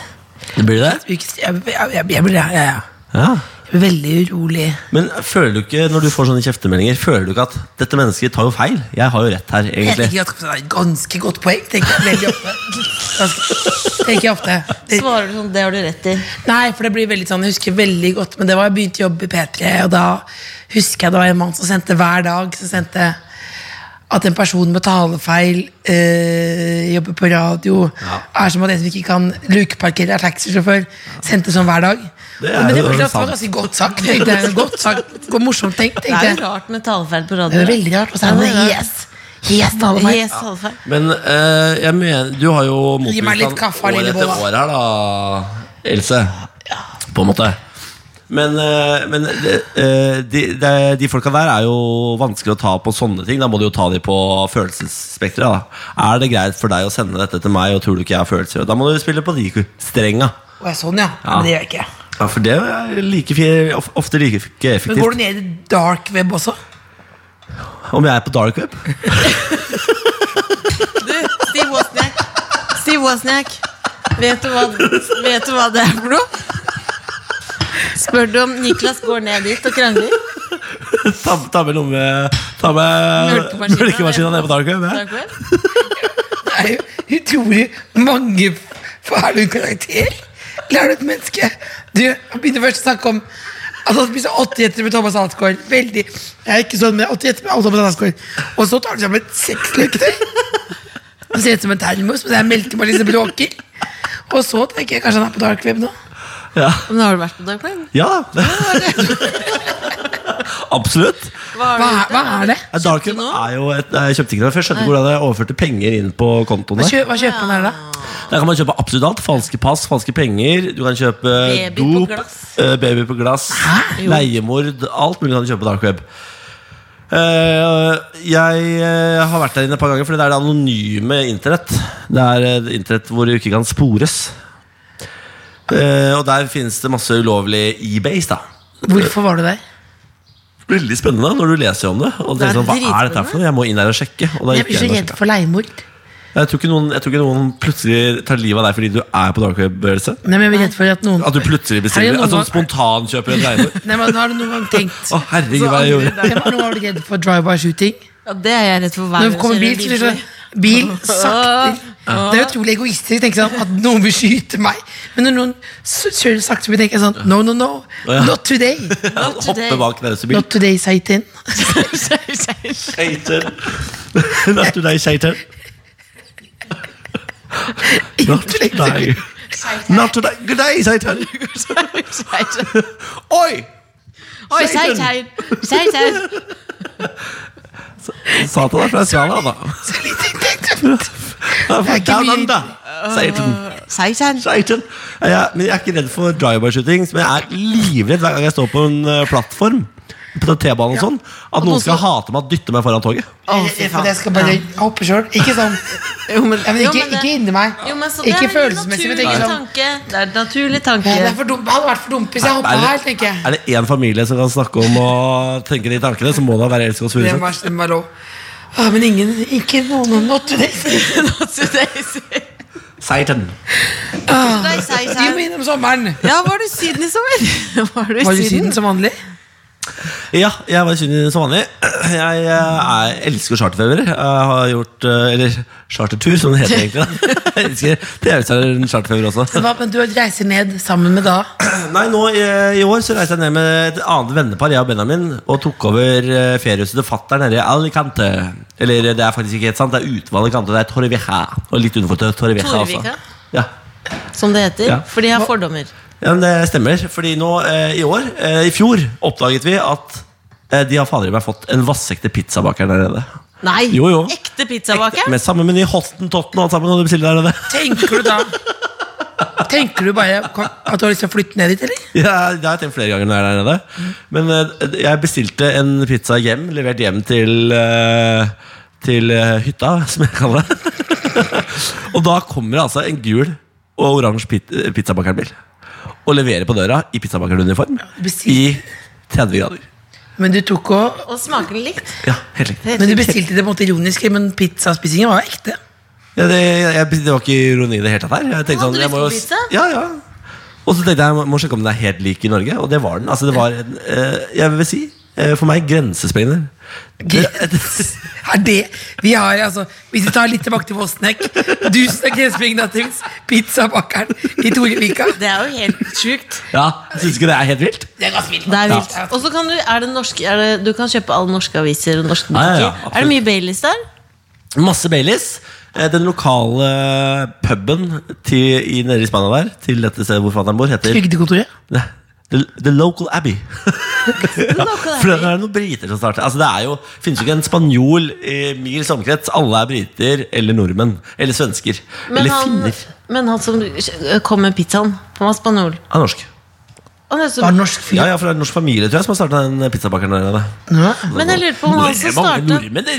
E: Blir det det?
C: Blir ikke- Jeg, jeg, jeg, jeg blir ja, ja, ja.
E: Ja.
C: Jeg blir veldig urolig.
E: Men føler du ikke, når du får sånne kjeftemeldinger, føler du ikke at 'dette mennesket tar jo feil'? Jeg har jo rett her,
C: Jeg
E: egentlig.
C: tenker at det er et ganske godt poeng, tenker jeg veldig ofte. Ganske, tenker jeg ofte. Det,
D: Svarer du sånn, det har du rett i.
C: Nei, for det blir veldig sånn, jeg husker veldig godt Men det var jeg begynte å jobbe i P3 Og da husker jeg det var en mann som sendte hver dag Som sendte at en person med talefeil eh, Jobber på radio Er som at en som ikke kan lukeparkere Er taxisjåfør, sendte sånn hver dag
E: Det er
C: Og- Men det
E: jo
C: var, det var
E: sant.
C: ganske godt sagt tenkte jeg. Godt sagt, godt morsomt tenkt
D: Det
C: tenkte
D: er
C: jeg
D: jo rart med talefeil på
C: Det
D: radio.
C: var veldig rart, og så er det
D: Ja, det er
C: yes Yes, talefeil
D: Yes, talefeil.
E: Men eh, jeg mener, du har jo
C: Gi meg litt kaffe,
E: år etter
C: Lillebolla.
E: år her, da, Else. På en måte. Men, eh, men eh, de, de, de folka der er jo vanskelig å ta på sånne ting. Da må du jo ta dem på følelsesspekteret. da. Er det greit for deg å sende dette til meg, og tror du ikke jeg har følelser? Da må du spille på de strenga.
C: Og jeg sånn, ja,
E: Ja.
C: men det gjør jeg ikke
E: Ja, for det er like, fi- of- ofte like ikke
C: Men går du
E: effektivt.
C: ned i dark web også?
E: Om jeg er på dark web?
D: Du, Steve Wozniak. Steve Wozniak. Vet du, hva, vet du hva det er for noe? Spør du om Niklas går ned dit og krangler?
E: Ta, ta med lomme... Ta med
D: Mjølkemaskina.
E: mjølkemaskina ned på dark web? Ja.
D: Dark web?
C: Det er jo utrolig mange Er du en karakter? Eller er du et menneske? Du han begynte først å snakke om at han spiser 80-etter med Thomas Hansgaard. Veldig. Jeg er ikke sånn med 80-etter med Thomas Hansgaard. Og så tar han sammen seks løkter. Han ser ut som en termos, men det er melkemalin som bråker. Og så tenker jeg kanskje han er på dark web nå.
D: Men har du vært på dark web?
E: Ja da. Absolutt.
D: Hva har
C: Hva,
D: du
C: er- hva er det?
E: Ja, Dark Web
D: nå?
E: er jo et, nei, jeg kjøpte ikke det før. Jeg skjønte ikke hvordan jeg overførte penger inn på kontoen.
C: Hva,
E: der
C: kjø, hva kjøper man her, da?
E: Der kan man kjøpe absolutt alt. Falske pass, falske penger. Du kan kjøpe
D: Baby på
E: dop,
D: glass.
E: eh, baby på glass,
D: Jo.
E: leiemord. Alt mulig kan du kjøpe på dark web. Eh, jeg eh, har vært der inne et par ganger, Fordi det er det anonyme internett. Det er eh, internett hvor du ikke kan spores. Eh, og der finnes det masse ulovlige eBays. da
C: Hvorfor var du der?
E: Veldig spennende når du leser om det. Og
D: Det er
E: tenker sånn, Hva er dette her for noe? Jeg må inn her og sjekke. Og da
C: Jeg
E: gikk
C: blir så
E: inn og
C: redd
E: sjekket.
C: for leiemord.
E: Jeg tror, ikke noen, jeg tror ikke noen plutselig tar livet av deg fordi du er på dark web-bevegelse.
C: Nei, men jeg blir redd for at noen
E: At du plutselig
C: Er
E: bestiller
C: det noen
E: At sånn
C: gang-
E: spontankjøper en leiemord.
C: Nei, men Har du noen gang tenkt
E: Å, herregud, hva jeg gjorde.
C: Jeg var- Nå var du redd for drive-by-shooting.
D: Ja, det er jeg redd for hver
C: Når det
D: gang
C: kommer
D: jeg
C: bil, så
D: kjører
C: blir det sånn Bil sakter. Det er utrolig egoistisk å tenke sånn at noen vil skyte meg. Men når noen s- kjører sakte, så tenker jeg sånn No, no, no.
E: ja.
C: Not today.
E: Han
D: today.
E: hopper bak nærmeste bil.
C: Not today, Satan.
E: Satan. Not today, Satan. Not today. Not today. Good day, Satan. Oi!
D: Oi,
E: Satan.
D: Satan! Satan!
E: Satan er fra Svala, da. Han er fra
C: ikke
E: Down
C: mye-
E: Under. Satan.
D: Satan!
E: Satan. Ja, men jeg er ikke redd for drive-by-shooting, men jeg er livredd hver gang jeg står på en eh, plattform. På T-banen og sånn. At noen skal hate meg og dytte meg foran toget.
D: Å,
C: Jeg-
D: fy
C: jeg- for
D: faen.
C: Jeg skal bare hoppe sjøl. Ikke sånn.
D: Jo, men-
C: Ja, men
D: jo,
C: ikke,
D: men det-
C: ikke inni meg.
D: Jo, men så det
C: Ikke
D: er en
C: følelsesmessig, men tenker
D: naturlig
C: sånn
D: tanke. Det er en naturlig tanke.
C: Det er for dumt. hadde vært for dumt hvis jeg hoppa her, tenker jeg.
E: er det én familie som kan snakke om å tenke de tankene, så må det være Elsk og
C: Det
E: Sure.
C: var, det var lov. Ah, men ingen Ikke noen not today.
E: Satan.
C: Ah.
D: Nei,
C: Vi må
D: Satan.
C: innom sommeren.
D: Ja, var du i Syden i sommer? Var du i
C: Var du i
D: Syden?
C: Syden som vanlig?
E: Ja, jeg var i Sunni som vanlig. Jeg, eh, er, elsker charterfeber. Jeg har gjort eh, Eller chartertur, som det heter egentlig. da. Jeg elsker det er jo charterfeber også.
C: Hva, men du reiser ned sammen med da
E: Nei, nå eh, I år så reiste jeg ned med et annet vennepar, jeg og Benjamin, og tok over eh, feriehuset til fatter'n nede i Alicante. Eller eh, det er faktisk ikke helt sant, det er utenfor Alicante. Det er Torrevieja. Og litt utenfor Torrevieja.
D: Torrevieja?
E: Altså. Ja.
D: Som det heter.
E: Ja.
D: For de har fordommer.
E: Ja, men det stemmer. Fordi nå eh, i år, eh, i fjor, oppdaget vi at eh, de har fader i meg fått en vassekte pizzabaker der nede.
D: Nei!
E: Jo, jo.
D: Ekte pizzabaker?
E: Med samme meny, Hottentotten og alt sammen. Kan du bestille der nede?
C: Tenker du da Tenker du bare at du har lyst til å flytte ned dit, eller?
E: Ja, det har jeg tenkt flere ganger når jeg er der nede. Men eh, jeg bestilte en pizza hjem, levert hjem til eh, til eh, hytta, som jeg kaller det. og da kommer det altså en gul og oransje pit- eh, pizzabakerbil og leverer på døra i pizzabakeruniform i
C: bestilt.
E: 30 grader.
C: Men du tok og
D: Og smaker det litt?
E: Ja, helt riktig.
C: Men du bestilte det på en måte ironisk, men pizzaspisingen var jo ekte.
E: Ja, det, jeg, det var ikke ironi i det hele tatt her. Jeg
D: Hadde
E: tenkte sånn,
D: du
E: jeg
D: lyst
E: må
D: på
E: jo s-
D: pizza?
E: Ja, ja. Og så tenkte jeg jeg må sjekke om den er helt lik i Norge, og det var den. Altså, det var en, eh, jeg vil si, eh, for meg, grensesprengende. Det-
C: Er det Vi har altså Hvis vi tar litt tilbake til Våsnek Tusen av gressbring nattings Pizzabakeren i Torevika
D: Det er jo helt sjukt.
E: Ja, jeg Syns ikke det er helt vilt?
C: Det er ganske vilt
D: Det er vilt. Og så kan du er det norske, er det, Du kan kjøpe alle norske aviser og norske
E: Ja, ja,
D: butikker.
E: ja, absolutt.
D: er det mye Baileys der?
E: Masse Baileys. Eh, Den lokale puben til, i, nede i Spania der, til dette stedet hvor fatter'n bor, heter
C: Trygdekontoret
E: The, the Local Abbey.
D: Local
E: For det
D: Abbey.
E: er noen briter som starter. Altså, det er jo, finnes jo ikke en spanjol i mils omkrets. Alle er briter eller nordmenn. Eller svensker.
D: Men
E: eller
D: han,
E: finner.
D: men han som eh, kom med pizzaen, han var spanjol.
E: Han er norsk.
D: Han er så-
C: Var det norsk fyr
E: Ja, ja, for det er en norsk familie tror jeg som har starta den pizzabakeren der nede.
C: Nå?
D: Men jeg lurer på om han
E: Det
D: som
E: er mange
D: starta
E: nordmenn der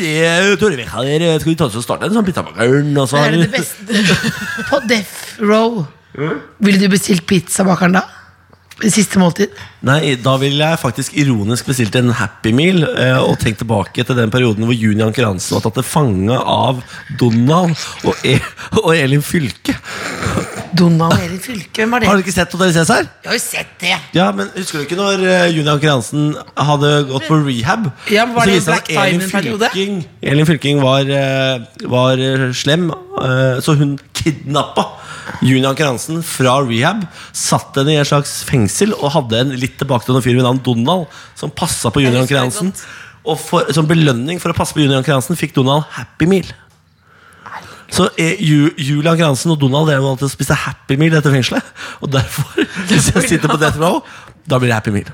E: i Torrevieja der. Skal vi ta oss og starte en sånn pizzabakeren? Og så
C: Er
E: har
C: det det
E: vi-
C: beste På Death Row Ville du bestilt pizzabakeren da? Det Siste måltid
E: Nei, da ville jeg faktisk ironisk bestilt en Happy Meal eh, og tenkt tilbake til den perioden hvor Juni Anker Hansen var tatt til fange av Donald og, e og Elin Fylke.
C: Donald og Elin Fylke Hvem var det?
E: Har dere ikke sett Hotell Cæsar?
C: Jeg har jo sett det
E: Ja, men Husker du ikke når eh, Juni Anker Hansen hadde gått på rehab?
C: Ja, men var
E: Så
C: det
E: viste
C: Black
E: seg at Elin
C: Diamond-periode?
E: Fylking- Elin Fylking var, eh, var eh, slem, eh, så hun kidnappa Juni Anker Hansen fra rehab. Satt henne i en slags fengsel og hadde en litt tilbakestående fyr ved navn Donald som passa på Juni
D: Jeg husker
E: Anker
D: det
E: Hansen.
D: godt.
E: Og for, som belønning for å passe på Juni Anker Hansen fikk Donald Happy Meal. Så eh, Ju- Julie Anker Hansen og Donald drev alltid og spiste Happy Meal etter fengselet. Og derfor, hvis jeg sitter på Death Row, da blir det Happy Meal.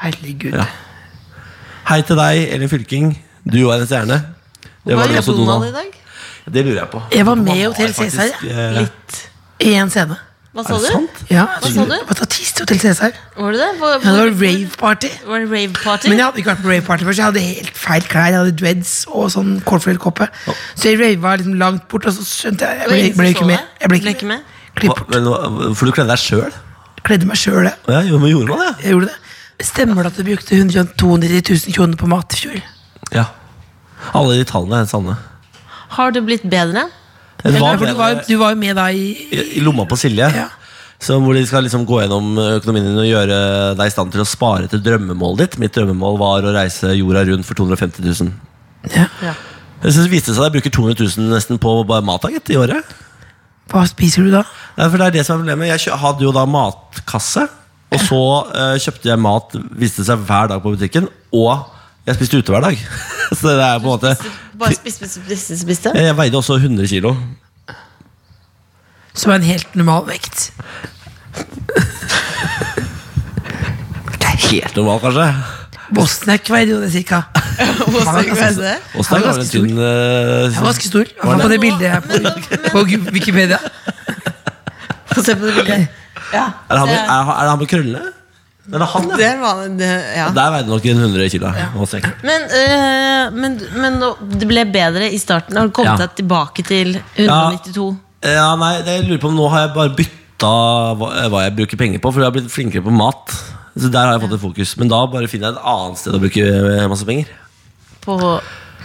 C: Herregud
E: Ja. Hei til deg, Elin Fylking. Du var en stjerne. Det
D: Hva
E: var du
D: gjør
E: også,
D: Donald i
E: Donald.
D: dag?
E: Det lurer jeg på.
C: Jeg var med
E: Man
C: i
E: har
C: Hotel Cæsar.
E: faktisk, eh,
D: Litt.
C: I en scene.
D: Hva
E: Er
D: sa
E: det
D: du?
E: sant?
C: Ja,
D: Hva sa du?
C: Statist Hotel Cæsar.
D: Var det det? Hvor,
C: Ja, det var rave-party.
D: Var det rave party?
C: Men jeg hadde ikke vært på rave-party før, så jeg hadde helt feil klær. Jeg hadde dreads og sånn cornflakes-koppe. Så jeg rava liksom langt bort, og så skjønte jeg Jeg ble,
D: Det var ingen som
C: ble
D: så
C: ikke med.
D: deg?
C: Jeg ble
D: Ble
C: ikke
D: ikke
C: med.
D: med?
C: Klipp
E: hva-
C: bort.
E: men hva- For du kledde deg sjøl?
C: Kledde meg sjøl, jeg.
E: Ja, jo, men gjorde man det?
C: jeg gjorde det. Stemmer det at du brukte 100 290 000 kroner på mat i fjor?
E: Ja. Alle de tallene er sanne.
D: Har det blitt bedre?
E: Det
C: Ja,
E: var
C: for du var, jo-
E: bedre
C: du var jo med da i
E: eh, i i lomma på Silje.
C: Ja.
E: Så hvor de skal liksom gå gjennom økonomien din og gjøre deg i stand til å spare til drømmemålet ditt. Mitt drømmemål var å reise jorda rundt for 250 000.
C: ja.
E: Jeg synes det viste seg at jeg bruker 200 000 nesten på bare mat da, gitt, i året.
C: Hva spiser du da?
E: Nei, for det er det som er problemet. Jeg kjø- hadde jo da matkasse, og så eh, kjøpte jeg mat, viste det seg hver dag på butikken, og jeg spiste ute hver dag. så det er på en måte
D: Bare spiste, spiste, spiste?
E: Jeg veide også 100 kilo.
C: Som er en helt normal vekt.
E: Helt normalt, kanskje.
C: Bosniak-veid, jo det cirka.
D: altså.
E: Åsstein var
C: ganske
E: en tynn eh,
C: Jeg var ganske stor. Jeg var på det bildet her på, på Wikipedia.
D: Få se på det bildet. Ja.
E: er, det han, med- er, er det han med krøllene? Er det han, ja?
D: Der var det, det- ja.
E: Der veide nok en 100 kilo. Åsstein.
D: Men, øh, men, men nå- det ble bedre i starten. Har du kommet
E: Ja.
D: deg tilbake til 192?
E: Ja, nei, det jeg lurer på om Nå har jeg bare bytta hva, eh, hva jeg bruker penger på, for jeg har blitt flinkere på mat. Så Der har jeg fått et fokus. Men da bare finner jeg et annet sted å bruke eh, masse penger.
D: På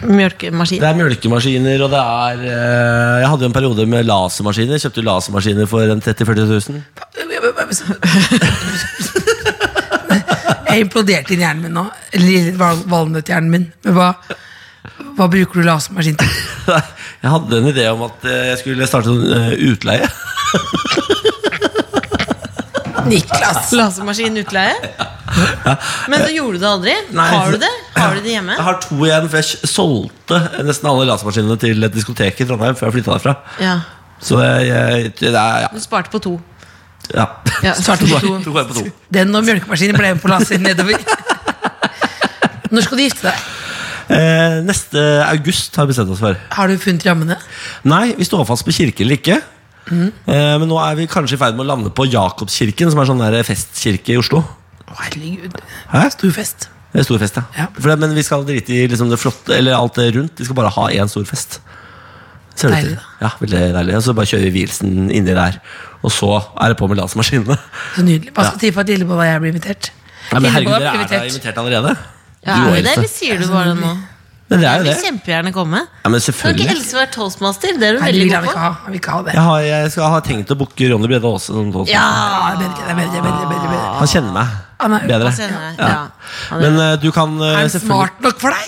D: mjølkemaskin?
E: Det er mjølkemaskiner, og det er eh, Jeg hadde jo en periode med lasermaskiner. Kjøpte jo lasermaskiner for en 30 000-40 000.
C: Jeg imploderte inn hjernen min nå. Lille val- valnøtthjernen min. Men hva, hva bruker du lasermaskin til?
E: Jeg hadde en idé om at eh, jeg skulle starte en eh, utleie.
C: Niklas!
D: Lasermaskin utleie? Men så gjorde du det aldri?
E: Nei.
D: Har du det? Har du det hjemme?
E: Jeg har to igjen, for jeg solgte nesten alle lasermaskinene til et diskotek i Trondheim før jeg flytta derfra.
D: Ja.
E: Så jeg, det er,
D: Du sparte på to.
E: ja. ja.
D: Ja.
C: Startet på to.
E: To går jeg på to.
C: Den og mjølkemaskinen ble med på laser nedover. Når skal du gifte deg?
E: Eh, neste august har vi bestemt oss for.
C: Har du funnet rammene?
E: Nei, vi står fast på kirke eller ikke.
D: Mhm.
E: Eh, men nå er vi kanskje i ferd med å lande på Jakobskirken, som er sånn der festkirke i Oslo.
C: Å, herregud.
E: Hæ?
C: Stor fest.
E: Det er stor fest, ja.
C: Ja.
E: For det, men vi skal drite i liksom det flotte, eller alt det rundt. Vi skal bare ha én stor fest. Ser det ut
C: Deilig,
E: til. Ja, veldig deilig. Og så bare kjører vi vielsen inni der. Og så er det på med lasermaskinene.
C: Så nydelig. Hva skal til for at Lillebolla og jeg blir invitert?
E: Nei, men herregud,
C: Lillebolla
E: dere
C: blir
E: er da
C: invitert.
E: invitert allerede.
D: Ja,
E: Du og
D: er det,
E: Else.
D: eller sier du bare det liksom- nå?
E: Men det er
D: Jeg
E: jo det.
D: vil kjempegjerne komme.
E: Ja, men
D: Kan ikke
E: selvfølgelig.
D: Else være toastmaster? Det er hun
C: Nei, det
D: veldig
C: vil han
D: god
C: ikke
D: på.
C: ha. Han vil ikke ha det.
E: Jeg har, jeg skal, har tenkt å booke Ronny Brede Aase. som toastmaster.
D: Ja!
C: Ja, det er bedre, det er bedre, det er bedre, det er bedre.
E: Han kjenner meg
C: Han er-
E: bedre.
D: han kjenner deg, ja. Han er-
E: Men eh, du kan eh,
C: Er han
E: selvfølgelig-
C: smart nok for deg?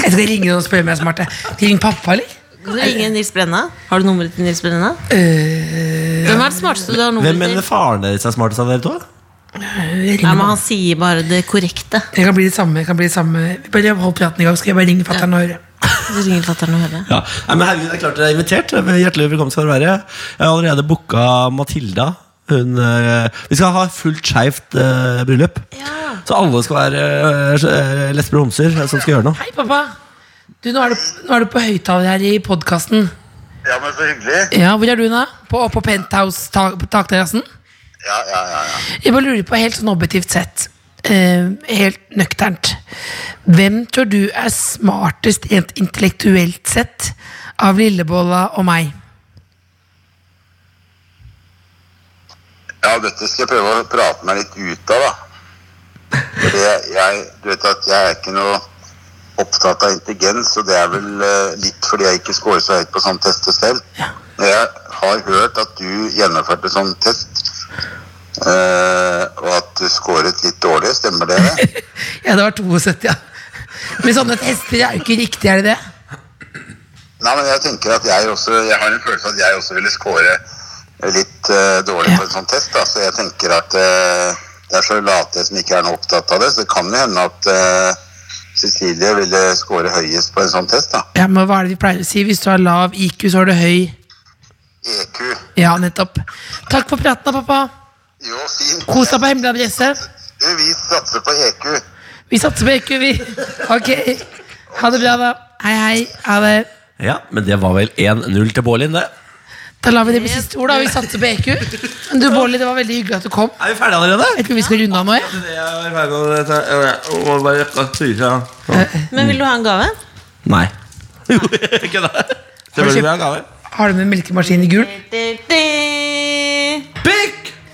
C: Jeg skal ringe noen og spørre om jeg er smart. jeg. Skal jeg ringe pappa, eller?
D: Kan du ringe Nils Brenna? Har du nummeret til Nils Brenna?
C: Eh,
D: Hvem er det smarteste du har
E: Hvem
D: nummeret
E: mener
D: til?
E: faren deres er smartest av dere to?
C: Jeg,
D: Nei,
C: ringer
D: men
C: pappa.
D: Han sier bare det korrekte.
C: jeg kan bli det samme. Jeg kan bli det samme. Bare hold praten i gang, skal jeg bare ringe fatter'n og høre.
D: Så ringer fatter'n og hører.
E: Ja. Nei, men herregud, det er klart dere er invitert. Hjertelig velkommen skal dere være. Jeg har allerede booka Matilda. Hun, eh, vi skal ha fullt skeivt eh, bryllup.
D: Ja.
E: Så alle skal være eh, lesber og homser eh, som skal gjøre noe.
C: Hei, pappa. Du, nå er du, nå er du på høyttaler her i podkasten.
A: Ja, men så hyggelig.
C: Ja, hvor er du nå? På, på penthouse ta- på takterrassen?
A: Ja, ja, ja. ja.
C: Jeg bare lurer på, helt sånn objektivt sett, eh, helt nøkternt Hvem tror du er smartest rent intellektuelt sett av Lillebolla og meg?
A: Ja, dette skal jeg prøve å prate meg litt ut av, da. For det, jeg, du vet at jeg er ikke noe opptatt av intelligens, og det er vel eh, litt fordi jeg ikke scorer så høyt på sånne tester selv. Men jeg har hørt at du gjennomførte sånn test, eh, og at du scoret litt dårlig. Stemmer det?
C: Ja, det var 72, ja. Men sånne tester er jo ikke riktig, er det det?
A: Nei, men jeg tenker at jeg også Jeg har en følelse av at jeg også ville score litt eh, dårlig på en sånn test. Da. Så jeg tenker at eh, det er så late som ikke er noe opptatt av det. Så det kan jo hende at eh, Cecilie ville score høyest på en sånn test, da.
C: Ja, men hva er det vi pleier å si? Hvis du har lav IQ, så har du høy
A: EQ.
C: Ja, nettopp. Takk for praten, da, pappa.
A: Jo, fint.
C: Kos deg på hemmelig adresse.
A: Du, vi satser på E EQ.
C: Vi satser på EQ, vi. Ok. Ha det bra, da. Hei, hei. Ha det.
E: Ja, men det var vel 1-0 til Bålin, det.
C: Da lar vi det på siste ord, da. Vi satser på EQ. Men du, Bårli, det var veldig hyggelig at du kom.
E: Er vi ferdige allerede?
C: Jeg tror vi skal runde av nå, jeg.
E: Mm.
D: Men vil du ha en gave?
E: Nei. Jo, ikke det. Selvfølgelig vil jeg ha gave.
C: Har du med melkemaskin i gul?
E: Pikk!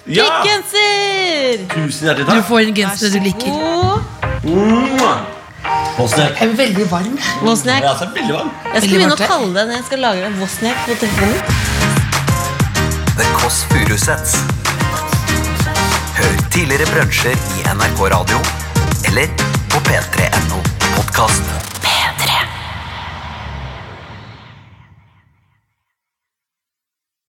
E: Ja!
D: Pikkgenser!
E: Tusen hjertelig
C: Du
E: takk.
C: får en genser du liker.
D: God
E: Bosnia.
C: Jeg er veldig varm.
E: Jeg
D: Vosniak.
E: er altså veldig varm.
D: Jeg skal
C: Veldig
D: begynne å
C: varmt her.
D: kalle den Jeg skal lagre en Vosniak på telefonen.
B: The Kåss Furuseths. Hør tidligere brunsjer i NRK Radio eller på p3.no podkast.